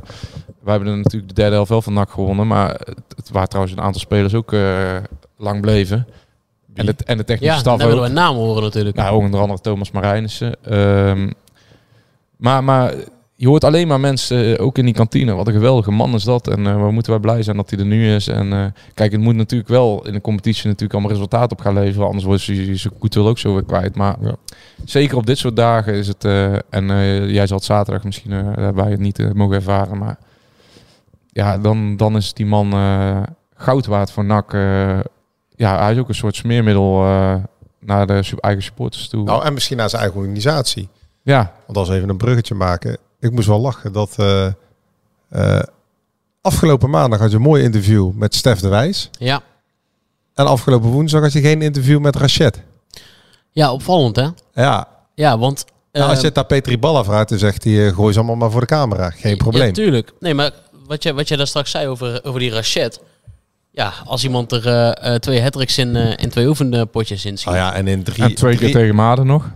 S9: wij hebben natuurlijk de derde helft wel van NAC gewonnen. Maar het, het waren trouwens een aantal spelers ook eh, lang bleven. En de, en de technische
S7: Ja, dan
S9: staf
S7: willen
S9: ook.
S7: we een naam horen natuurlijk.
S9: Nou, onder andere Thomas Marijnissen. Ehm, maar, maar je hoort alleen maar mensen, eh, ook in die kantine, wat een geweldige man is dat. En eh, waar moeten wij blij zijn dat hij er nu is. En eh, kijk, het moet natuurlijk wel in de competitie natuurlijk allemaal resultaat op gaan leveren. Anders wordt ze ze wel ook zo weer kwijt. Maar
S8: Ja.
S9: zeker op dit soort dagen is het... eh, en eh, jij zal het zaterdag misschien eh, daarbij het niet eh, mogen ervaren. Maar ja, dan, dan is die man eh, goud waard voor NAC. eh. ja, hij is ook een soort smeermiddel... eh, naar de su- eigen supporters toe.
S8: Nou, en misschien naar zijn eigen organisatie.
S9: Ja,
S8: Want als we even een bruggetje maken. Ik moest wel lachen dat... eh, eh, afgelopen maandag had je een mooi interview met Stef de Wijs.
S7: Ja.
S8: En afgelopen woensdag had je geen interview met Rachet.
S7: ja, opvallend hè.
S8: Ja,
S7: Ja, want...
S8: Nou, als
S7: eh,
S8: je het daar Petri Balla vraagt, dan zegt hij, eh, gooi ze allemaal maar voor de camera. Geen
S7: Ja,
S8: probleem.
S7: tuurlijk. Nee, maar wat jij, wat jij daar straks zei over, over die rachet. Ja, als iemand er eh, eh, twee hattricks in eh, en twee oefenpotjes in schiet.
S8: Nou ja, en in drie,
S9: en twee keer
S8: drie-
S9: tegen Maden nog.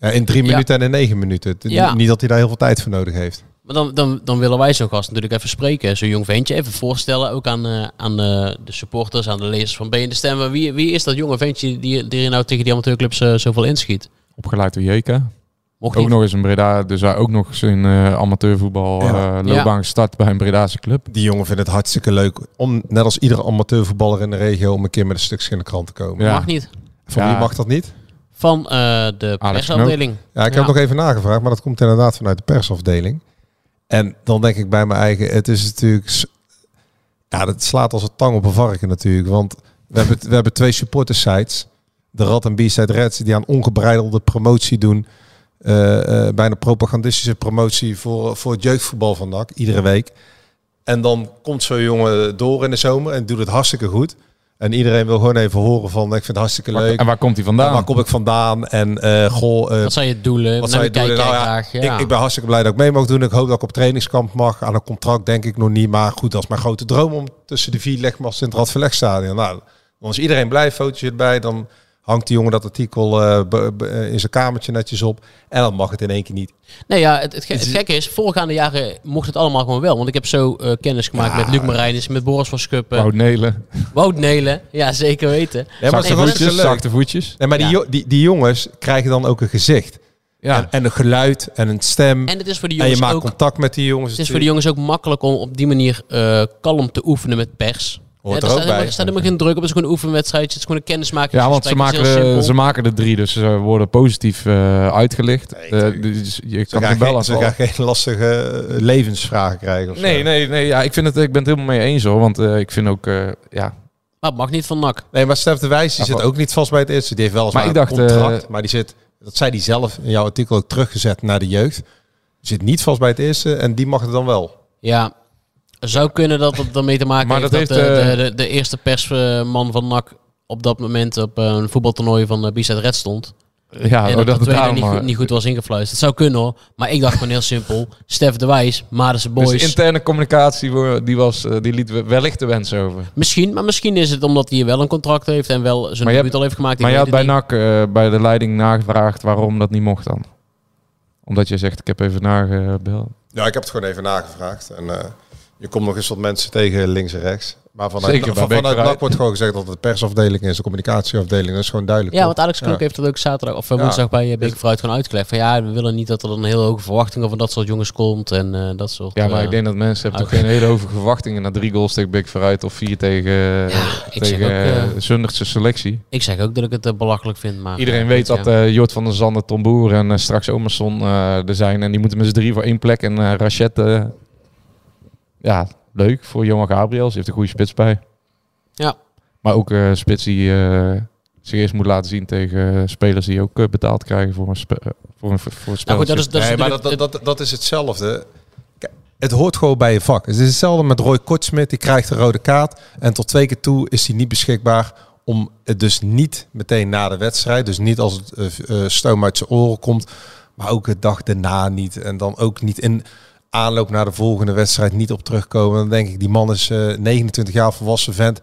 S8: ja, in drie
S7: Ja.
S8: minuten en in negen minuten. T-
S7: Ja.
S8: Niet dat hij daar heel veel tijd voor nodig heeft.
S7: Maar dan, dan, dan willen wij zo'n gast natuurlijk even spreken. Zo'n jong ventje even voorstellen. Ook aan, eh, aan eh, de supporters, aan de lezers van BN de Stem. Maar Wie, wie is dat jonge ventje die, die er nou tegen die amateurclubs eh, zoveel inschiet?
S9: Opgeleid door Jeka.
S7: Mocht
S9: Ook
S7: niet.
S9: nog eens in Breda, dus hij ook nog zijn eh, amateurvoetbal eh,
S8: Ja.
S9: loopbaan gestart bij een Bredaanse club.
S8: Die jongen vindt het hartstikke leuk om, net als iedere amateurvoetballer in de regio, om een keer met een stukje in de krant te komen.
S9: Ja.
S7: Mag niet.
S8: Van
S9: Ja.
S8: wie mag dat niet?
S7: Van eh, de
S9: Alex
S7: persafdeling.
S8: Ja, ik heb
S7: Ja.
S8: nog even nagevraagd, maar dat komt inderdaad vanuit de persafdeling. En dan denk ik bij mijn eigen, het is natuurlijk, s- ja, dat slaat als een tang op een varken natuurlijk. Want we hebben, we hebben twee supporter sites, de Rad en B-side Reds, die aan ongebreidelde promotie doen. Eh, eh, bijna propagandistische promotie voor, voor het jeugdvoetbal van NAC, iedere week. En dan komt zo'n jongen door in de zomer en doet het hartstikke goed. En iedereen wil gewoon even horen van, ik vind het hartstikke
S9: Waar-
S8: leuk.
S9: En waar komt hij
S8: En
S9: vandaan?
S8: Waar kom ik vandaan? En eh goh, eh,
S7: Wat zijn je doelen?
S8: wat zou je doen?
S7: Kijk,
S8: Nou
S7: kijk,
S8: ja,
S7: graag, ja.
S8: Ik, ik ben hartstikke blij dat ik mee mag doen. Ik hoop dat ik op trainingskamp mag. Aan een contract denk ik nog niet. Maar goed, dat is mijn grote droom om tussen de vier legmasten in het Radverlegstadion. Nou, dan is iedereen blij. Fotootje erbij. Dan hangt die jongen dat artikel eh, be- be- eh, in zijn kamertje netjes op. En dan mag het in één keer niet.
S7: Nee, ja, het, het, ge- het gekke is, voorgaande jaren mocht het allemaal gewoon wel. Want ik heb zo eh, kennis gemaakt met Luc Marijnis, met Boris van Schuppen,
S9: Wout Nelen.
S7: Wout Nelen. Ja, zeker weten.
S8: Ja, maar
S7: Zachte
S8: zo was het
S9: Voetjes,
S8: zo leuk.
S9: zachte voetjes.
S8: Nee, maar die,
S7: Ja.
S8: jo- die, die jongens krijgen dan ook een gezicht.
S9: Ja.
S8: En, en een geluid en een stem. En,
S7: En het is voor die
S8: je
S7: jongens
S8: maakt
S7: ook...
S8: contact met die jongens.
S7: Het is voor de jongens ook makkelijk om op die manier eh, kalm te oefenen met pers.
S8: Hoort
S7: er
S8: er ook
S7: staat helemaal-
S8: bij.
S7: er staat helemaal geen druk op. Het is gewoon een oefenwedstrijdje. Het is gewoon een kennismaking.
S9: Ja, want ze maken, er, ze maken er drie, dus ze worden positief eh, uitgelicht. Eh, dus je
S8: Ze
S9: kan
S8: gaan,
S9: de bel
S8: geen, ze
S9: afvallen.
S8: gaan geen lastige eh, levensvragen krijgen. of zo.
S9: Nee, nee, nee. Ja, ik, vind het, ik ben het helemaal mee eens hoor. Want eh, ik vind ook, eh, ja.
S7: Maar het mag niet van nak.
S8: Nee, maar Stef de Wijs die
S9: Ja,
S8: zit
S9: wel.
S8: ook niet vast bij het eerste. Die heeft wel eens
S9: Maar
S8: maar een
S9: ik dacht,
S8: contract,
S9: eh,
S8: maar die zit, dat zei die zelf in jouw artikel ook teruggezet naar de jeugd. Zit niet vast bij het eerste en die mag het dan wel.
S7: Ja, zou kunnen dat het ermee te maken
S9: Maar
S7: heeft dat,
S9: dat heeft,
S7: de,
S9: eh,
S7: de, de, de eerste persman van nak op dat moment op eh, een voetbaltoernooi van uh, Bizet Red stond.
S9: Ja,
S7: en
S9: oh, dat
S7: dat, de
S9: het
S7: tweede niet
S9: daarom...
S7: goed, niet goed was ingefluisterd. Dat zou kunnen hoor. Maar ik dacht gewoon heel simpel. Stef de Wijs, Madense
S9: Dus
S7: Boys.
S9: de interne communicatie wo- die was, eh, die liet we- wellicht de wens over.
S7: misschien, maar misschien is het omdat hij wel een contract heeft en wel zijn
S9: Maar je
S7: debuut al heeft gemaakt. Ik
S9: Maar je
S7: weet
S9: had
S7: het
S9: bij
S7: niet.
S9: NAC eh, bij de leiding nagevraagd waarom dat niet mocht dan. Omdat je zegt, ik heb even nagebeld.
S8: Ja, ik heb het gewoon even nagevraagd. En eh, je komt nog eens wat mensen tegen links en rechts. Maar vanuit,
S9: Zeker,
S8: van,
S9: maar ben ik
S8: vanuit
S9: eruit.
S8: NAC wordt gewoon gezegd dat het de persafdeling is, de communicatieafdeling. Dat is gewoon duidelijk.
S7: Ja,
S8: toch?
S7: want Alex Klok heeft dat ook zaterdag of eh,
S8: Ja.
S7: woensdag bij eh,
S9: Dus-
S7: Beek Vooruit gewoon uitgelegd. Van ja, we willen niet dat er dan heel hoge verwachtingen van dat soort jongens komt en eh, dat soort.
S9: Ja, maar
S7: eh,
S9: ik denk dat mensen hebben
S7: oké.
S9: toch geen hele hoge verwachtingen na drie goals tegen Big vooruit of vier tegen, eh,
S7: Ja, ik zeg
S9: tegen
S7: ook,
S9: eh, Zundertse selectie.
S7: Ik zeg ook dat ik het eh, belachelijk vind, maar...
S9: Iedereen
S7: eh,
S9: weet
S7: goed,
S9: dat
S7: ja.
S9: eh Jort van der Zanden, Tom Boer en eh, straks Omerson eh, er zijn. En die moeten met z'n drie voor één plek. En eh, Rachet, eh, ja, leuk voor Johan Gabriels. Ze heeft een goede spits bij.
S7: Ja.
S9: Maar ook eh, spits die eh, zich eerst moet laten zien tegen eh, spelers die ook eh, betaald krijgen voor een, spe- eh, voor een, voor een spelletje.
S7: Nou goed, dat is, dat is
S8: nee, maar dat,
S7: natuurlijk-
S8: dat, dat, dat is hetzelfde. Kijk, Het hoort gewoon bij je vak. Het is hetzelfde met Roy Kortsmit. Die krijgt de rode kaart. En tot twee keer toe is hij niet beschikbaar. Om het dus niet meteen na de wedstrijd. Dus niet als het eh, eh, stoom uit zijn oren komt. Maar ook de dag daarna niet. En dan ook niet in aanloop naar de volgende wedstrijd niet op terugkomen. Dan denk ik, die man is eh, 29 jaar volwassen vent.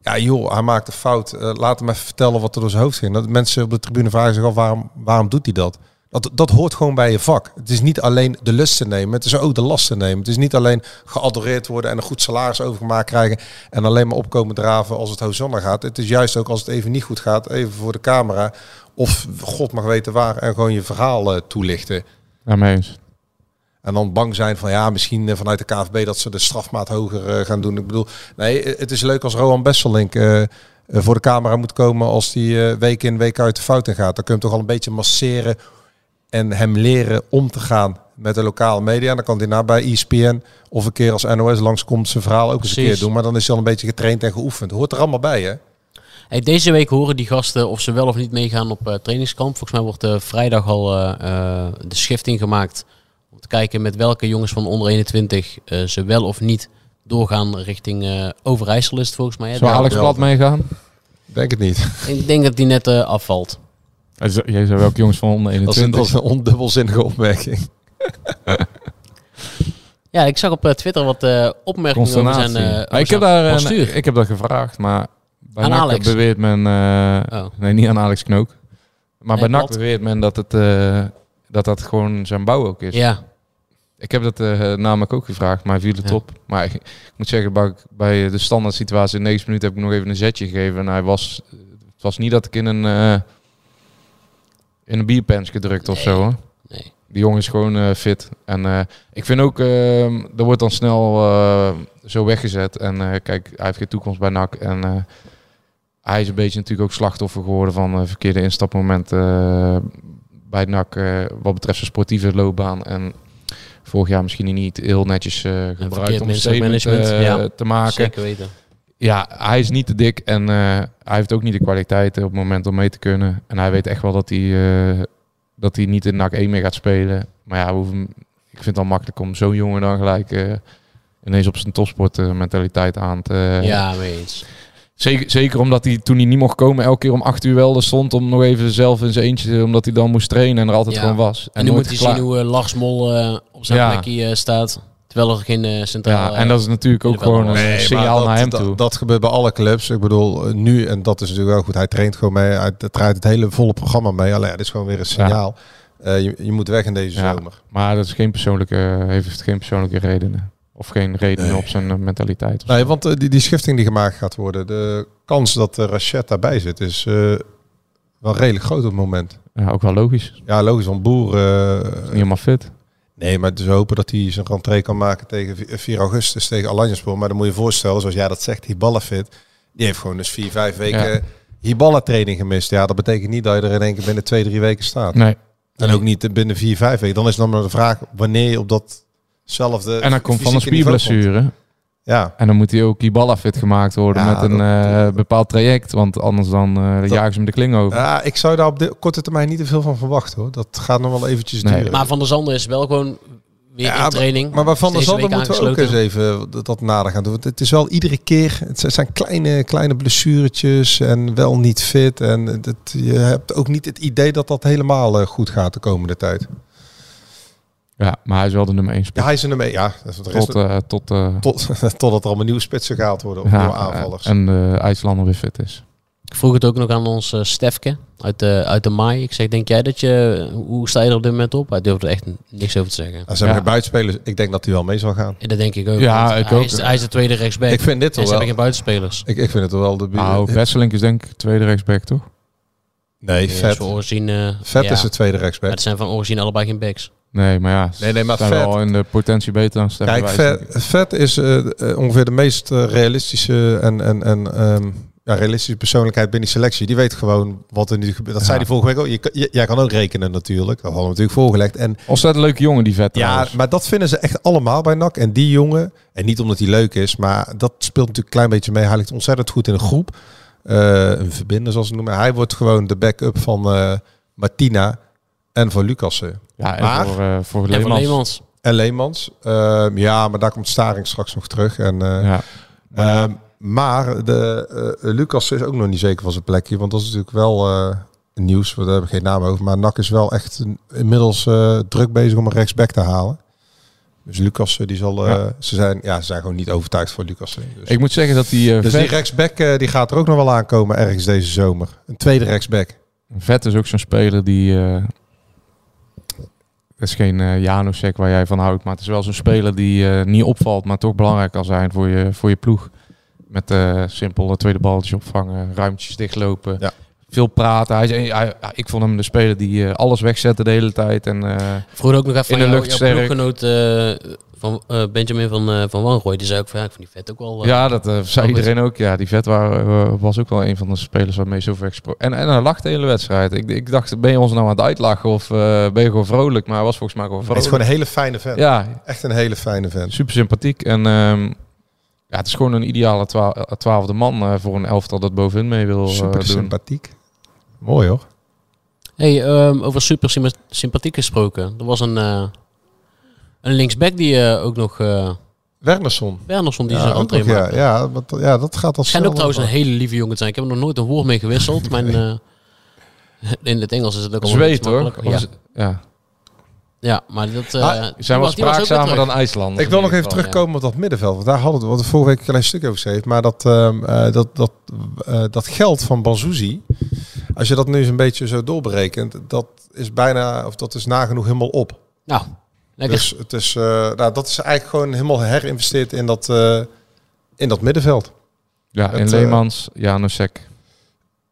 S8: Ja joh, hij maakt een fout. Eh, laat hem even vertellen wat er door zijn hoofd ging. Dat mensen op de tribune vragen zich af, waarom, waarom doet hij dat? dat? Dat hoort gewoon bij je vak. Het is niet alleen de lust te nemen, het is ook de last te nemen. Het is niet alleen geadoreerd worden en een goed salaris overgemaakt krijgen... en alleen maar opkomen draven als het Hosanna gaat. Het is juist ook als het even niet goed gaat, even voor de camera... of God mag weten waar en gewoon je verhaal eh, toelichten.
S9: Ja, mee eens.
S8: En dan bang zijn van ja, misschien eh, vanuit de KVB dat ze de strafmaat hoger eh, gaan doen. Ik bedoel, nee, eh, het is leuk als Roan Besselink eh, eh, voor de camera moet komen als die eh, week in week uit de fouten gaat. Dan kun je hem toch al een beetje masseren en hem leren om te gaan met de lokale media. Dan kan hij na bij E ESPN of een keer als NOS langskomt zijn verhaal ook eens een
S7: Precies.
S8: keer doen. Maar dan is hij al een beetje getraind en geoefend. Hoort er allemaal bij, hè?
S7: Hey, deze week horen die gasten of ze wel of niet meegaan op eh, trainingskamp. Volgens mij wordt eh, vrijdag al eh, eh, de schifting gemaakt. Om te kijken met welke jongens van onder 21 eh, ze wel of niet doorgaan richting eh Overijssel is het volgens mij. hè?
S9: Zou
S7: Daar-
S9: Alex Plat meegaan?
S8: Denk het niet.
S7: Ik denk dat die net eh, afvalt.
S9: Jij zei welke jongens van onder
S8: Dat is een,
S9: 21.
S8: dat is een ondubbelzinnige opmerking.
S7: Ja, ik zag op eh, Twitter wat eh, opmerkingen over zijn...
S9: Consternatie.
S7: eh,
S9: Maar
S7: over
S9: ik,
S7: zijn
S9: heb daar
S7: postuur.
S9: een, ik heb dat gevraagd, maar bij
S7: Aan
S9: NAC
S7: Alex?
S9: beweert men... eh,
S7: Oh.
S9: Nee, niet aan Alex Knook. Maar bij
S7: Nee,
S9: NAC
S7: klopt.
S9: beweert men dat, het, eh, dat dat gewoon zijn bouw ook is.
S7: Ja,
S9: Ik heb dat eh, namelijk ook gevraagd, maar hij viel het
S7: Ja.
S9: op. Maar ik, ik moet zeggen, bij, bij de standaard situatie in 90 minuten heb ik nog even een zetje gegeven. En hij was, het was niet dat ik in een, eh in een bierpens gedrukt of zo. Hoor.
S7: Nee.
S9: Die jongen is gewoon eh, fit. En eh, ik vind ook, ehm dat wordt dan snel eh, zo weggezet. En eh, kijk, hij heeft geen toekomst bij NAC. En eh, hij is een beetje natuurlijk ook slachtoffer geworden van eh, verkeerde instapmomenten eh, bij NAC. eh, wat betreft zijn sportieve loopbaan. En vorig jaar misschien niet heel netjes eh gebruikt om een
S7: menselijk
S9: statement
S7: management,
S9: eh,
S7: ja.
S9: te maken.
S7: Zeker weten.
S9: Ja, hij is niet te dik en eh, hij heeft ook niet de kwaliteiten op het moment om mee te kunnen. En hij weet echt wel dat hij, eh, dat hij niet in NAC 1 meer gaat spelen. Maar ja, we hoeven, ik vind het al makkelijk om zo'n jongen dan gelijk eh, ineens op zijn topsportmentaliteit aan te...
S7: ja, mee eens.
S9: Zeker, zeker omdat hij toen hij niet mocht komen elke keer om acht uur wel er stond om nog even zelf in zijn eentje, omdat hij dan moest trainen en er altijd
S7: Ja.
S9: gewoon was.
S7: En nu
S9: nooit
S7: moet je
S9: klaar-
S7: zien hoe eh, Lars Mol eh, op zijn
S9: Ja.
S7: plekje eh, staat. Terwijl er geen eh centraal...
S9: Ja, en dat is natuurlijk ook
S7: eh, jullie wel
S9: gewoon een
S7: allemaal.
S8: Nee, maar
S9: signaal
S8: dat,
S9: naar hem
S8: dat,
S9: toe.
S8: Dat gebeurt bij alle clubs. Ik bedoel, eh, nu, en dat is natuurlijk wel goed. Hij traint gewoon mee. Hij draait het hele volle programma mee. Alleen, het is gewoon weer een signaal. Eh, je, je moet weg in deze
S9: Ja.
S8: zomer.
S9: Maar dat is geen persoonlijke, heeft geen persoonlijke redenen. Of geen redenen op zijn eh, mentaliteit. of
S8: Nee,
S9: zo.
S8: want eh, die, die schifting die gemaakt gaat worden, de kans dat de Rachet daarbij zit, is eh, wel redelijk groot op het moment.
S9: Ja, ook wel logisch. Is
S8: Ja, logisch, want Boer... eh,
S9: niet helemaal fit.
S8: nee, maar dus we hopen dat hij zijn rentree kan maken tegen vi- eh, 4 augustus, tegen Alanyaspor. Maar dan moet je je voorstellen, zoals jij dat zegt, Hiballa fit. Die heeft gewoon dus vier, vijf weken
S9: Ja.
S8: Hiballa training gemist. Ja, dat betekent niet dat je er in één keer binnen twee, drie weken staat.
S9: Nee.
S8: En ook niet binnen vier, vijf weken. Dan is dan maar de vraag wanneer je op datzelfde
S9: En dan komt van een
S8: fysieke niveau komt.
S9: spierblessure.
S8: Ja,
S9: En dan moet hij ook Ibala fit gemaakt worden
S8: Ja,
S9: met een eh,
S8: dat-
S9: bepaald traject. Want anders dan eh jagen ze hem de kling over.
S8: Ja, ik zou daar op de korte termijn niet te veel van verwachten hoor. Dat gaat nog wel eventjes
S9: Nee.
S8: duren.
S7: Maar Van der Zander is wel gewoon weer
S8: Ja,
S7: in training.
S8: maar waarvan de
S7: Is deze
S8: Zander
S7: week
S8: moeten we ook eens
S7: aangesloten.
S8: even dat, dat nader gaan doen. Want het is wel iedere keer, het zijn- zijn kleine, kleine blessuretjes en wel niet fit. En het, je hebt ook niet het idee dat dat helemaal eh, goed gaat de komende tijd.
S9: Ja, maar hij is wel de nummer 1
S8: Ja,
S9: spits.
S8: hij is er mee. Ja, dat is wat de rest,
S9: tot, eh, tot, eh,
S8: tot, totdat er allemaal nieuwe spitsen gehaald worden of
S9: ja, eh,
S8: nieuwe aanvallers.
S9: En de IJslander weer fit is.
S7: Ik vroeg het ook nog aan ons eh, Stefke uit de, uit de Maai. Ik zeg, denk jij dat je... Hoe sta je er op dit moment op? Hij durfde er echt niks over te zeggen.
S8: Ja, Nou, ze hebben
S9: Ja.
S8: geen buitenspelers. Ik denk dat hij wel mee zal gaan.
S7: En dat denk ik ook.
S9: Ja,
S7: want
S9: ik
S7: hij
S9: ook.
S7: Is, hij is de tweede rechtsback.
S8: Ik vind dit
S7: en
S8: toch
S7: ze
S8: wel.
S7: hebben geen buitenspelers.
S8: Ik, ik vind het toch wel de.
S9: Nou, Wesselink is denk ik tweede rechtsback, toch?
S8: nee,
S7: Ja,
S8: vet.
S7: Van Orozien, Dus eh,
S8: Vet
S7: ja.
S8: is de tweede rechtsback.
S7: Maar het zijn van origine allebei geen backs.
S9: Nee, maar ja. ze
S8: Nee, nee, maar
S9: zijn
S8: Vet-
S9: wel in de potentie beter dan Stefan
S8: Kijk,
S9: Wijs,
S8: vet,
S9: denk ik.
S8: vet is eh, eh, ongeveer de meest eh, realistische en, en, en ehm, ja, realistische persoonlijkheid binnen die selectie. Die weet gewoon wat er nu gebeurt. Dat zei
S9: Ja.
S8: die vorige week ook. Je, kan- je- jij kan ook rekenen natuurlijk. Dat hadden we natuurlijk voorgelegd. En
S9: Ontzettend leuke jongen, die Vet
S8: ja,
S9: trouwens.
S8: maar dat vinden ze echt allemaal bij NAC. En die jongen, en niet omdat hij leuk is, maar dat speelt natuurlijk een klein beetje mee. Hij ligt ontzettend goed in een groep. Eh, een verbinder, zoals ze het noemen. Hij wordt gewoon de backup van eh, Martina en van Lucassen.
S9: Ja, en
S8: maar-
S9: voor, eh voor
S7: En van
S9: Leemans.
S7: Leemans.
S8: En Leemans. Eh, ja, maar daar komt Staring straks nog terug. En, eh,
S9: Ja.
S8: Ehm, maar de, eh, Lucas is ook nog niet zeker van zijn plekje. Want dat is natuurlijk wel eh, nieuws. We hebben geen naam over. Maar NAC is wel echt een- inmiddels eh, druk bezig om een rechtsback te halen. Dus Lucas, eh, die zal. eh,
S9: Ja.
S8: ze, zijn, ja, ze zijn gewoon niet overtuigd voor Lucas. Dus,
S9: Ik moet zeggen dat die, eh,
S8: dus die
S9: vet,
S8: rechtsback eh, die gaat er ook nog wel aankomen ergens deze zomer. Een tweede rechtsback.
S9: vet is ook zo'n speler die... eh het is geen eh Janusek waar jij van houdt, maar het is wel zo'n speler die eh, niet opvalt, maar toch belangrijk kan zijn voor je, voor je ploeg. Met eh simpel het tweede balletje opvangen, ruimtjes dichtlopen,
S8: Ja.
S9: veel praten. Hij, is een- hij- ik vond hem de speler die eh, alles wegzette de hele tijd. En, eh,
S7: Vroeger ook nog even
S9: In de
S7: aan jou,
S9: lucht
S7: jouw
S9: sterk.
S7: ploeggenoot eh, van eh, Benjamin van, eh van Wanrooy. Die zei ook van, ja, ik vind die vet ook wel... eh,
S9: ja, dat eh, zei
S7: goed.
S9: iedereen ook. Ja, die vet wa- eh, was ook wel een van de spelers waarmee zoveel gesproken. En, en hij lachte de hele wedstrijd. Ik, ik dacht, ben je ons nou aan het uitlachen of eh, ben je gewoon vrolijk? Maar hij was volgens mij gewoon
S8: Het is
S9: vrolijk.
S8: gewoon een hele fijne vent.
S9: Ja,
S8: Echt een hele fijne vent.
S9: super sympathiek. En ehm, ja, het is gewoon een ideale twa- eh, twaalfde man eh, voor een elftal dat bovenin mee wil eh,
S8: Super
S9: doen.
S8: sympathiek. Mooi hoor.
S7: Hey, ehm, over super sympa- sympathiek gesproken. Er was een, eh, een linksback die eh, ook nog... eh
S8: Wernerson.
S7: Wernerson die
S8: Ja,
S7: zijn
S8: ook
S7: entree
S8: nog, ja,
S7: maakte.
S8: ja, want, ja, dat gaat als.
S7: Schijnt ook trouwens een hele lieve jongen te zijn. Ik heb er nog nooit een woord mee gewisseld. Mijn, eh, in het Engels is het ook al
S9: Zweed hoor.
S7: Ja.
S9: Ja.
S7: ja, maar dat... eh,
S8: Ah,
S9: Ze zijn wel
S7: die was- die was ook weer
S9: spraakzamer
S7: terug.
S9: dan IJsland.
S8: Ik wil nog even terugkomen op dat middenveld. Want daar hadden we, wat we vorige week een klein stuk over geschreven. Maar dat, ehm, eh, dat, dat, eh, dat geld van Banzuzi, als je dat nu eens een beetje zo doorberekent, dat is bijna, of dat is nagenoeg helemaal op.
S7: Nou, lekker.
S8: Dus het is, eh, nou, dat is eigenlijk gewoon helemaal herinvesteerd in dat, eh, in dat middenveld.
S9: Ja, in
S8: Het, eh,
S9: Leemans, Janusek.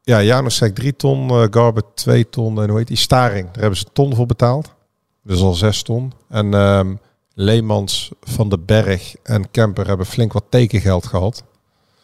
S8: Ja, Janosek 3 ton, eh, Garber 2 ton en hoe heet die? Staring, daar hebben ze een ton voor betaald. Dus al zes ton. En ehm, Leemans, Van den Berg en Kemper hebben flink wat tekengeld gehad.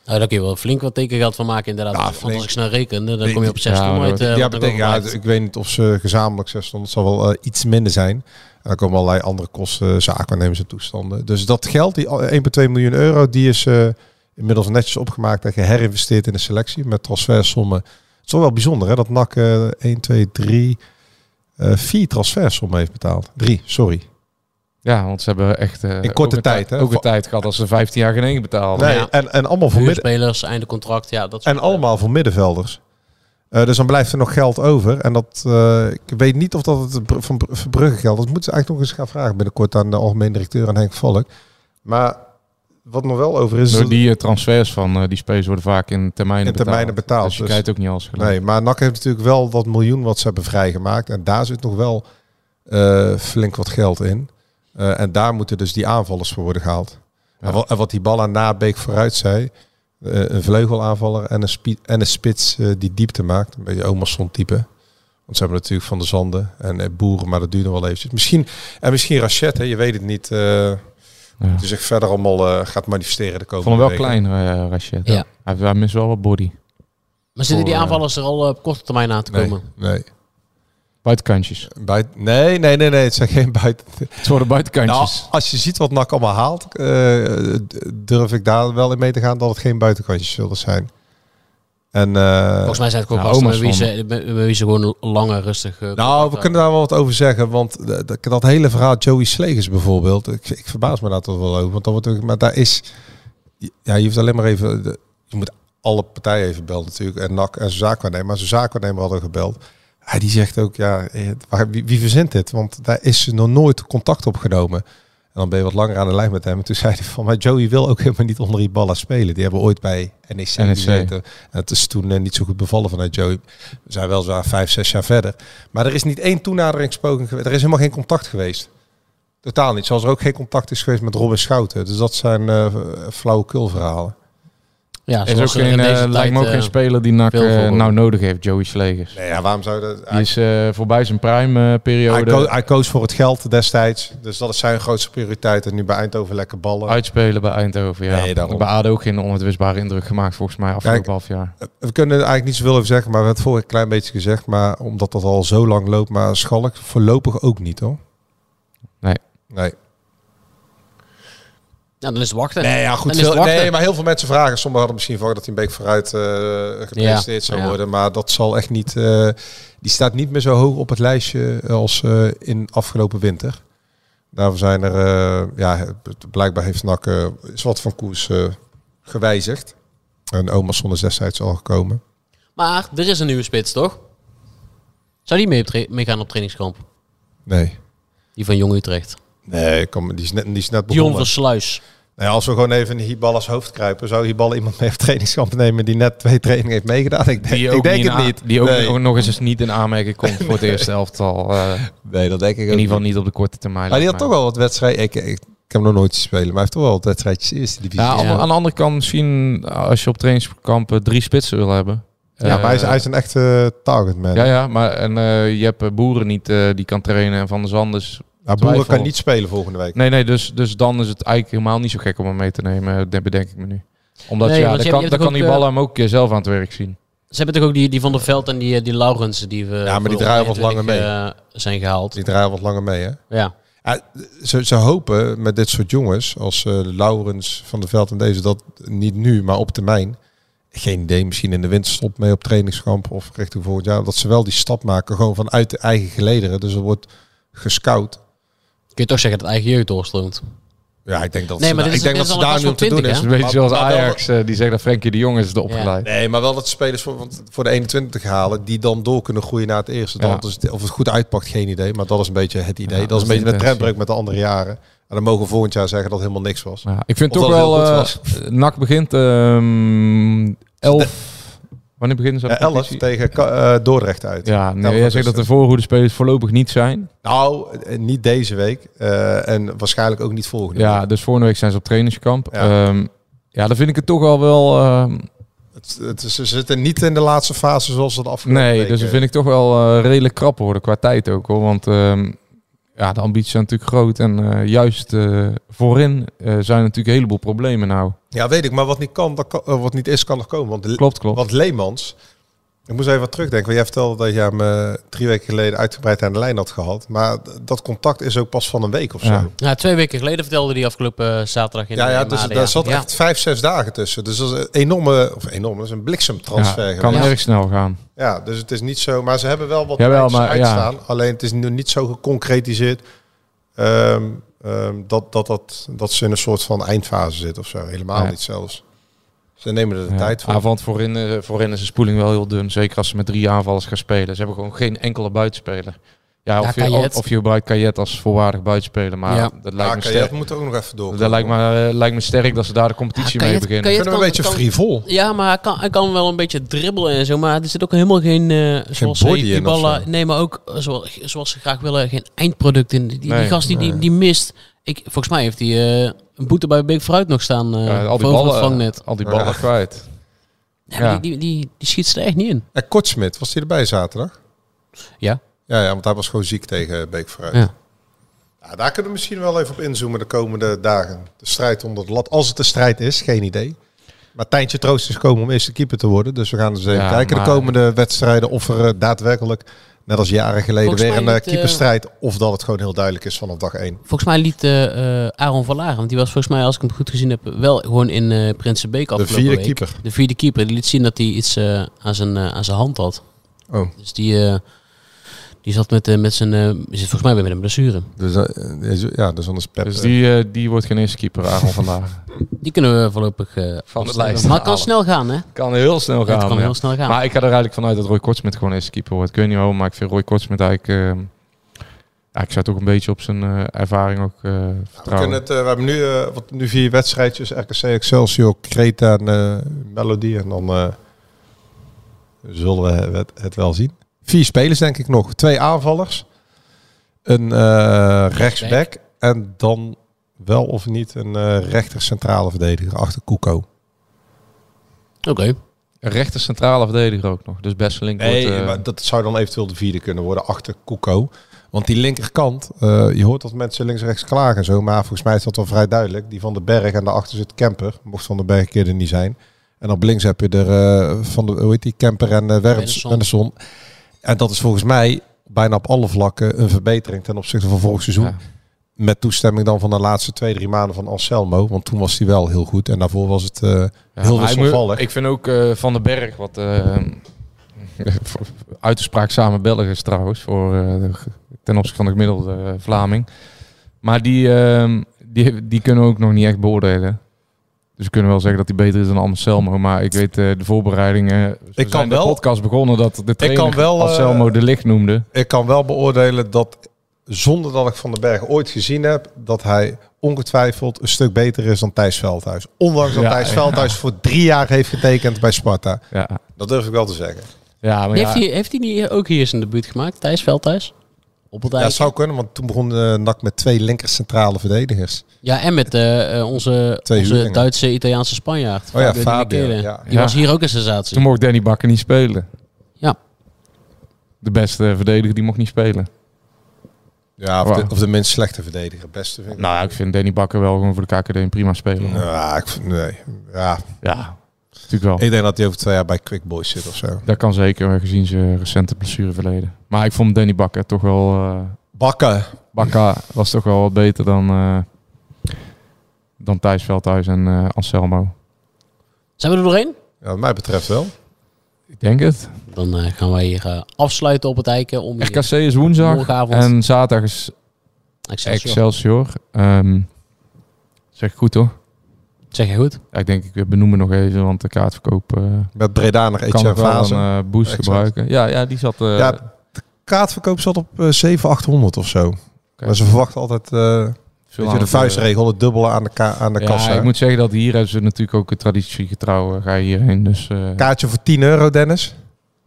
S7: Nou, daar kun je wel flink wat tekengeld van maken inderdaad.
S8: Ja,
S7: Want
S8: flink.
S7: als ik snel rekende, dan
S8: Die-
S7: kom je op 6
S9: ja,
S7: ton uit. eh, wat
S8: ja,
S7: er
S8: betekent, ja,
S7: overblijft.
S8: ik weet niet of ze gezamenlijk zes ton. Het zal wel eh, iets minder zijn. En dan komen allerlei andere kosten, eh, zaakwaarnemers en toestanden. Dus dat geld, die al- 1,2 miljoen euro, die is eh, inmiddels netjes opgemaakt en geherinvesteerd in de selectie met transfersommen. Het is wel wel bijzonder hè, dat NAC eh 1, 2, 3, eh 4 transfersommen heeft betaald. 3, sorry.
S9: Ja, want ze hebben echt... eh,
S8: korte
S9: ook een
S8: tijd,
S9: tij-
S8: hè?
S9: Ook een
S8: Va-
S9: tijd gehad als ze 15 jaar geen één betaalden.
S8: Nee,
S7: ja.
S8: en, en allemaal voor midden,
S7: Huurspelers, einde contract, ja. Dat eh.
S8: En allemaal voor middenvelders. Eh, dus dan blijft er nog geld over. En dat, eh, ik weet niet of dat het Br- van Br- Verbrugge geldt. Dat moeten ze eigenlijk nog eens gaan vragen binnenkort aan de algemeen directeur en Henk Valk. Maar wat nog wel over is...
S9: Door die eh, transfers van eh, die spelers worden vaak in termijnen
S8: Dus In
S9: betaald.
S8: termijnen betaald,
S9: Dus je
S8: dus-
S9: kijkt ook niet als gelijk.
S8: nee, maar NAC heeft natuurlijk wel dat miljoen wat ze hebben vrijgemaakt. En daar zit nog wel eh, flink wat geld in. Eh, en daar moeten dus die aanvallers voor worden gehaald.
S9: Ja.
S8: En, wat, en wat die bal aan Nabeek vooruit zei... eh, een vleugelaanvaller en een, spie- en een spits eh, die diepte maakt. Een beetje Omerson type. Want ze hebben natuurlijk Van de Zanden en eh, Boeren, maar dat duurde wel eventjes. Misschien, en misschien Rachet, hè, je weet het niet. eh
S9: Ja.
S8: Dus zich verder allemaal eh, gaat manifesteren de
S9: Ik
S8: komende
S9: vond hem wel
S8: weken.
S9: klein, eh Rachet.
S7: Ja.
S9: Hij, heeft- hij mist wel wat body.
S7: Maar zitten die
S9: Voor, eh,
S7: aanvallers er al eh, op korte termijn aan te komen?
S8: Nee, nee.
S9: Buitenkantjes.
S8: Buiten- nee, nee, nee, nee, het zijn geen buiten.
S9: Het worden
S8: Nou,
S9: buitenkantjes.
S8: als je ziet wat NAC allemaal haalt, eh, d- durf ik daar wel in mee te gaan dat het geen buitenkantjes zullen zijn. En, eh,
S7: Volgens mij zijn het gewoon
S9: nou,
S7: gasten met wie,
S9: Oma's
S7: ze, met, met wie ze gewoon langer rustig... eh,
S8: Nou, we kunnen daar wel wat over zeggen. Want eh, dat- dat hele verhaal Joey Slegers bijvoorbeeld. Ik, ik verbaas me daar toch wel over. Want dan wordt er- maar daar is... Ja, je hoeft alleen maar even... de- je moet alle partijen even bellen natuurlijk. En NAC en zijn zaakwaarnemer. Maar zijn zaakwaarnemer hadden gebeld. Hij die zegt ook, ja, eh, waar- wie, wie verzint dit? Want daar is nog nooit contact opgenomen. En dan ben je wat langer aan de lijn met hem. En toen zei hij van, maar Joey wil ook helemaal niet onder die ballen spelen. Die hebben ooit bij NEC,
S9: NEC.
S8: gezeten. En het is toen eh, niet zo goed bevallen vanuit Joey. We zijn wel zo vijf, zes jaar verder. Maar er is niet één toenaderingspoging geweest. Er is helemaal geen contact geweest. Totaal niet. Zoals er ook geen contact is geweest met Robin Schouten. Dus dat zijn eh flauwekulverhalen.
S7: ja,
S9: Er is ook
S7: zoals er in
S9: geen,
S7: deze
S9: eh, lijkt me ook
S7: tijd,
S9: geen
S7: eh,
S9: speler die NAC
S7: veel
S9: eh,
S7: voor-
S9: nou nodig heeft, Joey Slegers.
S8: Nee, ja, waarom zou dat...
S9: Die
S8: Hij,
S9: is eh, voorbij zijn prime eh,
S8: hij,
S9: periode.
S8: ko- hij koos voor het geld destijds. Dus dat is zijn grootste prioriteit. En nu bij Eindhoven lekker ballen.
S9: Uitspelen bij Eindhoven, ja.
S8: Nee, daarom.
S9: Bij ADO ook geen onwitwisbare indruk gemaakt volgens mij afgelopen
S8: Kijk,
S9: half jaar.
S8: We kunnen er eigenlijk niet zoveel over zeggen. Maar we hebben het vorige een klein beetje gezegd. Maar omdat dat al zo lang loopt. Maar Schalk voorlopig ook niet, hoor.
S9: Nee.
S8: Nee.
S7: Ja, dan is het wachten.
S8: Nee, ja,
S7: Dan
S8: goed.
S7: is
S8: veel-
S7: het wachten.
S8: nee, maar heel veel mensen vragen. Sommigen hadden misschien verwacht dat hij een week vooruit eh
S7: Ja,
S8: gepresenteerd zou
S7: ja.
S8: worden. Maar dat zal echt niet. eh, die staat niet meer zo hoog op het lijstje als eh, in afgelopen winter. Daarvoor zijn er. eh, ja, het- blijkbaar heeft NAC eh, is wat van koers eh, gewijzigd. En Oma's zonder destijds al gekomen.
S7: Maar er is een nieuwe spits, toch? Zou die mee op tra- meegaan op trainingskamp?
S8: Nee.
S7: Die van Jong Utrecht.
S8: Nee, ik kan, me- die, is net, die is net
S7: Dion
S8: begonnen.
S7: Versluis.
S8: Nou ja, als we gewoon even in Hiballas hoofd kruipen, zou Hibal iemand mee op trainingskamp nemen die net twee trainingen heeft meegedaan? Ik denk,
S9: Die
S8: ik
S9: ook,
S8: denk
S9: niet in
S8: het
S9: a-
S8: niet.
S9: Die ook
S8: Nee.
S9: nog eens eens niet in aanmerking komt voor het eerste elftal. eh,
S8: Nee, dat denk ik
S9: in ieder geval niet op de korte termijn.
S8: Maar die
S9: lijkt
S8: had toch
S9: mij.
S8: wel wat wedstrijden. Ik, ik, ik heb hem nog nooit zien spelen, maar hij heeft toch wel wat wedstrijdjes eerste divisie.
S9: Ja,
S8: Ja,
S9: aan de- Aan de andere kant misschien eh, als je op trainingskampen drie spitsen wil hebben. Eh,
S8: maar hij is, hij is een echte targetman.
S9: Ja, ja, maar en, eh, je hebt eh, Boeren niet eh, die kan trainen en Van der Zanders.
S8: maar Boeren Nou, kan
S9: twijfel.
S8: niet spelen volgende week.
S9: Nee, nee, dus, dus dan is het eigenlijk helemaal niet zo gek om hem mee te nemen, eh, dat bedenk ik me nu. Omdat
S7: Nee,
S9: ja, dan
S7: want je
S9: kan,
S7: hebt- je hebt
S9: dan
S7: ook,
S9: kan die
S7: eh,
S9: ballen hem ook eh, zelf aan het werk zien.
S7: Ze hebben toch ook die, die Van der Veld en die, eh, die Laurensen die we...
S8: maar
S7: voor
S8: die
S7: de
S8: draaien wat
S7: 21,
S8: langer
S7: eh, zijn gehaald.
S8: Die draaien wat langer mee, hè?
S7: Ja.
S8: Ja, ze, ze hopen met dit soort jongens, als eh, Laurens, Van der Veld en deze, dat niet nu, maar op termijn. Geen idee, misschien in de winterstop mee op trainingskamp of richting volgend jaar. Dat ze wel die stap maken, gewoon vanuit de eigen gelederen. Dus er wordt gescout.
S7: Kun je toch zeggen dat eigen jeugd doorstroomt?
S8: Ja, ik denk dat
S7: Nee,
S8: ze,
S7: maar dit
S8: ik
S7: is-
S8: denk
S7: dit
S8: dat
S7: is
S8: ze
S7: al een klas
S8: daar nu om te
S7: van
S8: doen
S7: 20,
S8: is.
S7: hè?
S9: Dus een beetje
S8: Maar-
S9: zoals
S8: maar wel-
S9: Ajax, eh, die zegt dat Frenkie de Jong is de opgeleid.
S8: Nee, maar wel dat spelers voor, want voor de 21 halen die dan door kunnen groeien naar het eerste. Dan
S9: Ja.
S8: dus het- of het goed uitpakt, geen idee. Maar dat is een beetje het idee.
S9: Ja,
S8: dat,
S9: dat
S8: is
S9: is
S8: een beetje
S9: de
S8: een
S9: intentie.
S8: trendbreuk met de andere jaren. En dan mogen we volgend jaar zeggen dat helemaal niks was.
S9: Ja, ik vind
S8: Of
S9: toch
S8: dat het
S9: wel,
S8: heel
S9: eh
S8: goed
S9: NAC begint ehm 11, wanneer beginnen ze?
S8: Eh, 11
S9: competitie?
S8: tegen Ka- eh, Dordrecht uit.
S9: Ja,
S8: Tel
S9: nee, jij
S8: van
S9: zegt dat de
S8: Dordrecht.
S9: voorhoede spelers voorlopig niet zijn.
S8: Nou, eh, niet deze week. eh, en waarschijnlijk ook niet volgende
S9: Ja,
S8: week.
S9: dus vorige week zijn ze op trainingskamp.
S8: Ja.
S9: Ja, ja dan vind ik het toch al wel... ehm,
S8: Het, het is, ze zitten niet in de laatste fase zoals dat afgelopen
S9: nee,
S8: week,
S9: dus dat
S8: eh,
S9: vind ik toch wel eh, redelijk krap worden qua tijd ook. Hoor, want ehm, ja, de ambities zijn natuurlijk groot. En eh, juist eh, voorin eh, zijn natuurlijk een heleboel problemen nou.
S8: Ja, weet ik. Maar wat niet, kan, dat kan- eh, wat niet is, kan nog komen. Want, de-
S9: Klopt, klopt.
S8: want Leemans... Ik moest even wat terugdenken. Want jij vertelde dat je hem eh, drie weken geleden uitgebreid aan de lijn had gehad. Maar d- dat contact is ook pas van een week of zo.
S9: Ja.
S8: Ja,
S7: Ja, twee weken geleden vertelde hij afgelopen eh, zaterdag in
S8: ja,
S7: de
S8: dus
S7: Made,
S8: daar zat
S7: Ja.
S8: echt vijf, zes dagen tussen. Dus dat is een enorme... Of enorme, dat is een bliksemtransfer.
S9: Ja, kan
S8: geweest.
S9: erg snel gaan.
S8: Ja, dus het is niet zo. Maar ze hebben wel wat
S9: Jawel,
S8: lijntjes
S9: maar ja.
S8: uitstaan. Alleen het is nu niet zo geconcretiseerd ehm, ehm, dat, dat, dat, dat ze in een soort van eindfase zitten of zo. Helemaal
S9: Ja.
S8: niet zelfs. Ze nemen er de
S9: Ja.
S8: tijd voor.
S9: Ah, want voorin, eh, voorin is de spoeling wel heel dun. Zeker als ze met drie aanvallers gaan spelen. Ze hebben gewoon geen enkele buitenspeler. Ja,
S7: Ja,
S9: of, je,
S7: Payet.
S9: of, of je gebruikt Kajet als voorwaardig buitenspeler. Maar
S7: Ja.
S9: dat
S8: Ja,
S9: lijkt me
S8: oké, dat
S9: sterk.
S8: moet er ook nog even door.
S9: Dat lijkt me, eh, lijkt me sterk dat ze daar de competitie
S7: Ja,
S9: mee
S7: Payet-
S9: beginnen.
S7: Payet
S8: Kunnen we
S7: kan-
S8: een beetje
S7: kan-
S8: frivol.
S7: Ja, maar hij kan, hij kan wel een beetje dribbelen en zo. Maar er zit ook helemaal geen, eh zoals
S8: body in
S7: die
S8: of zo.
S7: ballen. Nee, maar ook eh, zoals, zoals ze graag willen, geen eindproduct in. Die, die
S9: Nee,
S7: gast die, die,
S8: nee.
S7: die mist. Ik, volgens mij heeft hij eh, een boete bij Big Fruit nog staan. eh
S9: Ja, al,
S7: voor
S9: die
S7: over het
S9: ballen, eh,
S7: vangnet.
S9: al die ballen
S8: Ja.
S9: kwijt.
S7: Ja, maar
S9: ja.
S7: Die, die, die, die schiet ze er echt niet in.
S8: En Kortsmit, was die erbij zaterdag?
S7: Ja.
S8: Ja, ja, want hij was gewoon ziek tegen Beek vooruit.
S7: Ja.
S8: Ja. daar kunnen we misschien wel even op inzoomen de komende dagen. De strijd onder het lat. Als het de strijd is, geen idee. Maar Tijntje Troost is gekomen om eerste keeper te worden. Dus we gaan eens even
S9: Ja,
S8: kijken de
S9: maar-
S8: komende wedstrijden. Of er eh, daadwerkelijk, net als jaren geleden,
S7: Volgens mij
S8: weer een eh,
S7: niet, eh,
S8: keeperstrijd. Of dat het gewoon heel duidelijk is vanaf dag één.
S7: Volgens mij liet eh, eh, Aaron van Laren, want die was volgens mij, als ik hem goed gezien heb, wel gewoon in eh Prinsenbeek
S8: De
S7: afgelopen
S8: vierde
S7: week.
S8: keeper.
S7: De vierde keeper. Die liet zien dat hij iets eh, aan, zijn, eh, aan zijn hand had.
S8: Oh.
S7: Dus die, eh, die zat met, eh, met zijn, eh, zit volgens mij weer met een blessure.
S8: Dus, eh, is- ja, dus anders Pep.
S9: Dus
S8: eh,
S9: die, eh, die wordt geen eerste keeper, Aaron vandaag.
S7: Die kunnen we voorlopig eh,
S9: Van de
S7: afstellen.
S9: lijst
S7: Maar het kan
S9: halen.
S7: snel gaan, hè?
S9: Kan heel snel gaan.
S7: het kan
S9: ja.
S7: heel snel gaan.
S9: Maar ik ga er eigenlijk vanuit dat Roy Kortsmit gewoon eerste keeper wordt. Ik weet niet waarom, maar ik vind Roy Kortsmit eigenlijk... ehm, ja, ik zou het ook een beetje op zijn eh, ervaring ook eh,
S8: we,
S9: vertrouwen.
S8: kunnen het, eh, we hebben nu, eh, wat, nu vier wedstrijdjes. RKC, Excelsior, Creta en eh, Melody. En dan eh, zullen we het, het wel zien. Vier spelers denk ik nog. Twee aanvallers. Een eh rechtsback. En dan wel of niet een eh, rechter centrale verdediger achter Koeko.
S7: Oké.
S9: Een rechter centrale verdediger ook nog. Dus best een link
S8: Nee,
S9: wordt, eh,
S8: maar dat zou dan eventueel de vierde kunnen worden achter Koeko. Want die linkerkant, eh, je hoort dat mensen links en rechts klagen en zo. Maar volgens mij is dat wel vrij duidelijk. Die van de Berg en daarachter zit Kemper. Mocht van de Berg een keer er niet zijn. En op links heb je er eh, van de, hoe heet die, Kemper en eh Werps
S7: Wernersson.
S8: en de Zon. En dat is volgens mij bijna op alle vlakken een verbetering ten opzichte van vorig seizoen.
S9: Ja.
S8: Met toestemming dan van de laatste twee, drie maanden van Anselmo. Want toen was hij wel heel goed. En daarvoor was het eh,
S9: ja,
S8: heel
S9: maar ik moet-
S8: wisselvallig.
S9: Ik vind ook eh, Van den Berg, wat eh, uitspraak samen Belg is trouwens, voor, eh, de g- ten opzichte van de gemiddelde eh, Vlaming. Maar die, ehm, die, die kunnen we ook nog niet echt beoordelen. Dus we kunnen wel zeggen dat hij beter is dan Anselmo. Maar ik weet eh, de voorbereidingen. we
S8: kan
S9: zijn
S8: wel-
S9: de podcast begonnen dat de trainer
S8: kan wel, eh,
S9: Anselmo de licht noemde.
S8: ik kan wel beoordelen dat zonder dat ik Van den Berg ooit gezien heb, dat hij ongetwijfeld een stuk beter is dan Thijs Veldhuis. Ondanks dat
S9: Ja,
S8: Thijs
S9: ja.
S8: Veldhuis voor drie jaar heeft getekend bij Sparta.
S9: Ja,
S8: Dat durf ik wel te zeggen.
S9: ja maar ja,
S7: Heeft hij heeft hij niet ook hier zijn debuut gemaakt? Thijs Veldhuis? Op het
S8: Ja,
S7: ja,
S8: dat zou kunnen, want toen begon eh NAC met twee linker centrale verdedigers.
S7: ja, en met eh, eh, onze,
S8: Twee
S7: onze
S8: huurlingen.
S7: Duitse Italiaanse Spanjaard.
S8: Oh ja,
S7: de
S8: Fabio.
S7: Michele.
S8: Ja.
S7: Die
S9: Ja.
S7: was hier ook een sensatie.
S9: toen mocht Danny Bakker niet spelen.
S7: Ja.
S9: De beste verdediger die mocht niet spelen.
S8: Ja, of,
S9: Wow.
S8: de, of de minst slechte verdediger, beste vind ik.
S9: Nou, ja, ik vind Danny Bakker wel gewoon voor de KKD een prima speler.
S8: Ja, ik, vind- nee. ja,
S9: Ja, natuurlijk wel.
S8: ik denk dat hij over twee jaar bij Quick Boys zit of zo.
S9: Dat kan zeker, eh, gezien zijn recente blessureverleden. Maar ik vond Danny Bakker toch wel... eh
S8: Bakken.
S9: Bakker was toch wel wat beter dan, eh dan Thijs Veldhuis en eh, Anselmo.
S7: Zijn we er doorheen?
S8: Ja, wat mij betreft wel.
S9: Ik denk het.
S7: Dan eh, gaan wij hier eh, afsluiten op het eiken. Om hier-
S9: RKC is woensdag
S7: Morgenavond.
S9: en zaterdag is
S7: Excelsior.
S9: Excelsior. Ehm, zeg ik goed, toch?
S7: Zeg je goed?
S9: Ja, ik denk, ik benoem me nog even, want de kaartverkoop... eh,
S8: Met Breda nog
S9: kan
S8: Etienne
S9: nog wel een
S8: Fase.
S9: eh, boost
S8: Exact.
S9: gebruiken. Ja, ja, die zat... eh,
S8: Ja, de kaartverkoop zat op eh 700, 800 of zo. Maar ze verwachten altijd... eh,
S9: veel
S8: Weet je,
S9: aan
S8: de
S9: het, eh,
S8: vuistregel, het dubbele aan de, ka- aan de
S9: ja,
S8: kassa.
S9: ik moet zeggen dat hier hebben ze natuurlijk ook een traditiegetrouw. eh, ga je hierheen, dus eh,
S8: Kaartje voor 10 euro, Dennis.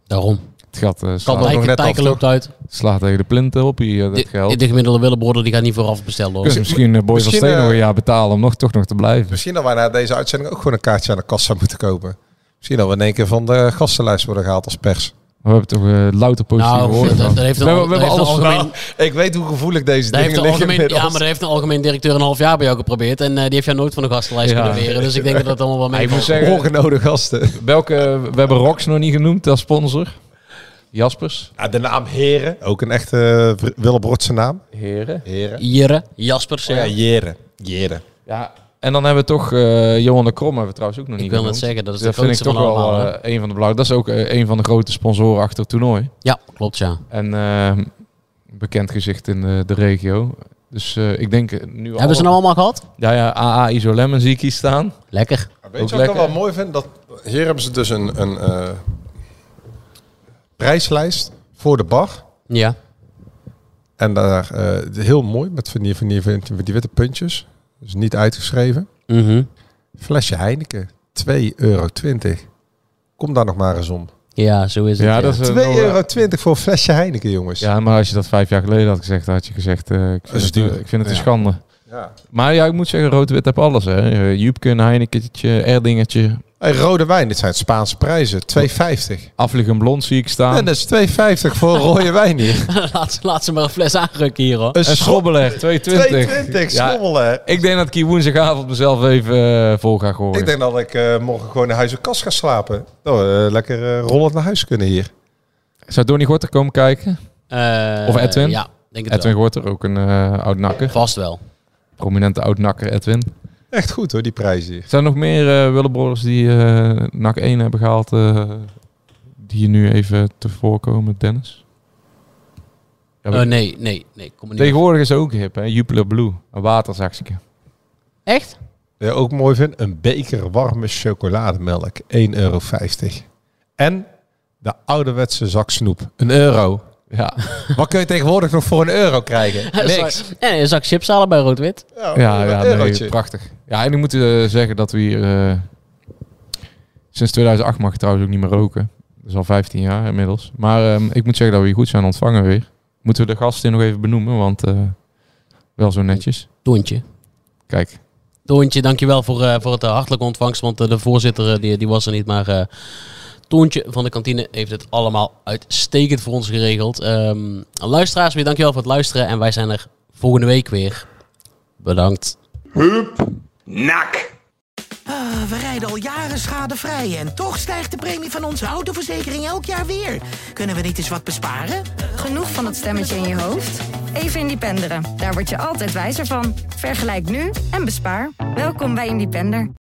S7: Daarom.
S9: het gaat eh,
S7: Kan
S9: slaat,
S8: nog
S7: Tijken
S8: net af,
S7: Tijken loopt uit.
S9: slaat tegen de plinten op hier, eh, dat
S7: De,
S9: geld.
S7: de gemiddelde Willebrodder die gaat niet vooraf bestellen hoor.
S9: dus misschien eh, Boy
S8: misschien,
S9: van Steen nog
S8: eh,
S9: een jaar betalen om nog, toch nog te blijven.
S8: Misschien dat wij na deze uitzending ook gewoon een kaartje aan de kassa moeten kopen. Misschien dat we in één keer van de gastenlijst worden gehaald als pers.
S9: We hebben toch eh, louter positieve
S7: Nou,
S9: woorden.
S7: dat-
S9: gehad.
S7: dat heeft
S9: we
S7: een-
S9: hebben, we
S7: dat
S9: hebben
S7: heeft
S9: alles
S7: een
S9: gedaan.
S7: algemeen-
S8: Ik weet hoe gevoelig deze
S7: Daar heeft een
S8: dingen liggen
S7: algemeen, ja,
S8: inmiddels.
S7: maar daar heeft een algemeen directeur een half jaar bij jou geprobeerd. En eh, die heeft jou nooit van de gastenlijst
S9: Ja.
S7: kunnen weren. Dus ik denk dat dat allemaal wel
S9: Ik moet
S7: meevalt.
S9: zeggen,
S8: Ongenode gasten.
S9: welke, we hebben Rox nog niet genoemd als sponsor. Jaspers.
S8: Ja, Ah, de naam Heren. Ook een echte eh, Willem Rotse naam.
S9: Heren.
S8: Heren.
S7: Jere, Jaspers. ja.
S9: Oh
S8: Ja, Jeren. Jeren.
S9: Ja. En dan hebben we toch eh, Johan de Krom, hebben we trouwens ook nog niet
S7: wil net
S9: genoemd.
S7: zeggen, dat is de
S9: vind ik
S7: grootste
S9: toch
S7: van
S9: wel
S7: allemaal,
S9: eh, een van de belangrijke. Dat is ook eh, een van de grote sponsoren achter het toernooi.
S7: ja, klopt ja.
S9: En eh, bekend gezicht in de, de regio. Dus eh, ik denk eh, nu
S7: Hebben ze nou allemaal gehad?
S9: Ja, ja, AA Iso Lemon zie ik hier staan.
S7: Lekker.
S8: Weet
S9: Ook
S8: je wat ik
S9: lekker.
S8: dan wel mooi vind? Dat, hier hebben ze dus een, een eh, prijslijst voor de bar.
S7: Ja.
S8: En daar eh, heel mooi met van die, van, die, van die witte puntjes. Dus niet uitgeschreven.
S7: Mhm.
S8: Flesje Heineken, 2,20 euro. Kom daar nog maar eens om. 2,20
S7: Ja, zo is het.
S9: Ja, dat is een enorme-
S8: euro voor een flesje Heineken, jongens.
S9: Ja, maar als je dat vijf jaar geleden had gezegd, had je gezegd, eh, ik,
S8: is
S9: vind het,
S8: duur.
S9: eh, ik vind het
S8: Ja.
S9: een schande.
S8: Ja.
S9: Maar ja, ik moet zeggen, Rood-Wit heb alles. Hè. Eh, Joepke, een Heinekentje, Erdingetje,
S8: Hey, rode wijn, dit zijn Spaanse prijzen. 2,50.
S9: Afligem Blond zie ik staan.
S8: En dat is 2,50 voor een rode wijn hier.
S7: laat, ze- laat ze maar een fles aanrukken hier hoor.
S8: Een
S9: en
S8: schop.
S9: Schrobbeler, 220.
S8: 2,20,
S9: Ja,
S8: schommelen.
S9: ik denk dat ik hier woensdagavond mezelf even eh, vol ga gooien.
S8: Ik denk dat ik eh, morgen gewoon naar huis op kast ga slapen. Nou, eh, lekker eh, rollend naar huis kunnen hier.
S9: Zou Donnie Gorter komen kijken?
S7: Eh,
S9: Of Edwin?
S7: Ja, denk het
S9: Edwin
S7: wel.
S9: Gorter, ook een eh oud-nakker.
S7: Vast wel.
S9: Prominente oud-nakker Edwin.
S8: Echt goed hoor, die prijzen hier.
S9: Zijn er nog meer eh Willebroeders die eh NAC 1 hebben gehaald, eh, die je nu even tevoren komen, Dennis? Ja,
S7: Eh, nee, nee, nee. Kom er niet
S9: Tegenwoordig is het ook hip, hè? Jupiler Blue, een waterzakje.
S7: op. Echt?
S8: Ja, ook mooi vind, een beker warme chocolademelk, 1,50 euro. En de ouderwetse zak snoep, een euro.
S9: Ja,
S8: Wat kun je tegenwoordig nog voor een euro krijgen? Niks.
S7: En een zak chips halen bij Rood-Wit.
S9: ja, ja nee,
S8: Oh, eurotje.
S9: prachtig. Ja, en ik moet eh, zeggen dat we hier... eh, sinds 2008 mag je trouwens ook niet meer roken. Dat is al 15 jaar inmiddels. Maar ehm, ik moet zeggen dat we hier goed zijn ontvangen weer. Moeten we de gasten nog even benoemen, want eh, wel zo netjes.
S7: Toontje.
S9: Kijk,
S7: Toontje, dankjewel voor, eh, voor het eh, hartelijke ontvangst. Want eh, de voorzitter eh, die, die was er niet. Maar eh, Toontje van de kantine heeft het allemaal uitstekend voor ons geregeld. Ehm, luisteraars, weer dankjewel voor het luisteren. En wij zijn er volgende week weer. Bedankt.
S1: Ah, we rijden al jaren schadevrij en toch stijgt de premie van onze autoverzekering elk jaar weer. Kunnen we niet eens wat besparen?
S2: Genoeg van dat stemmetje in je hoofd? Even Independeren. Daar word je altijd wijzer van. Vergelijk nu en bespaar. Welkom bij Independer.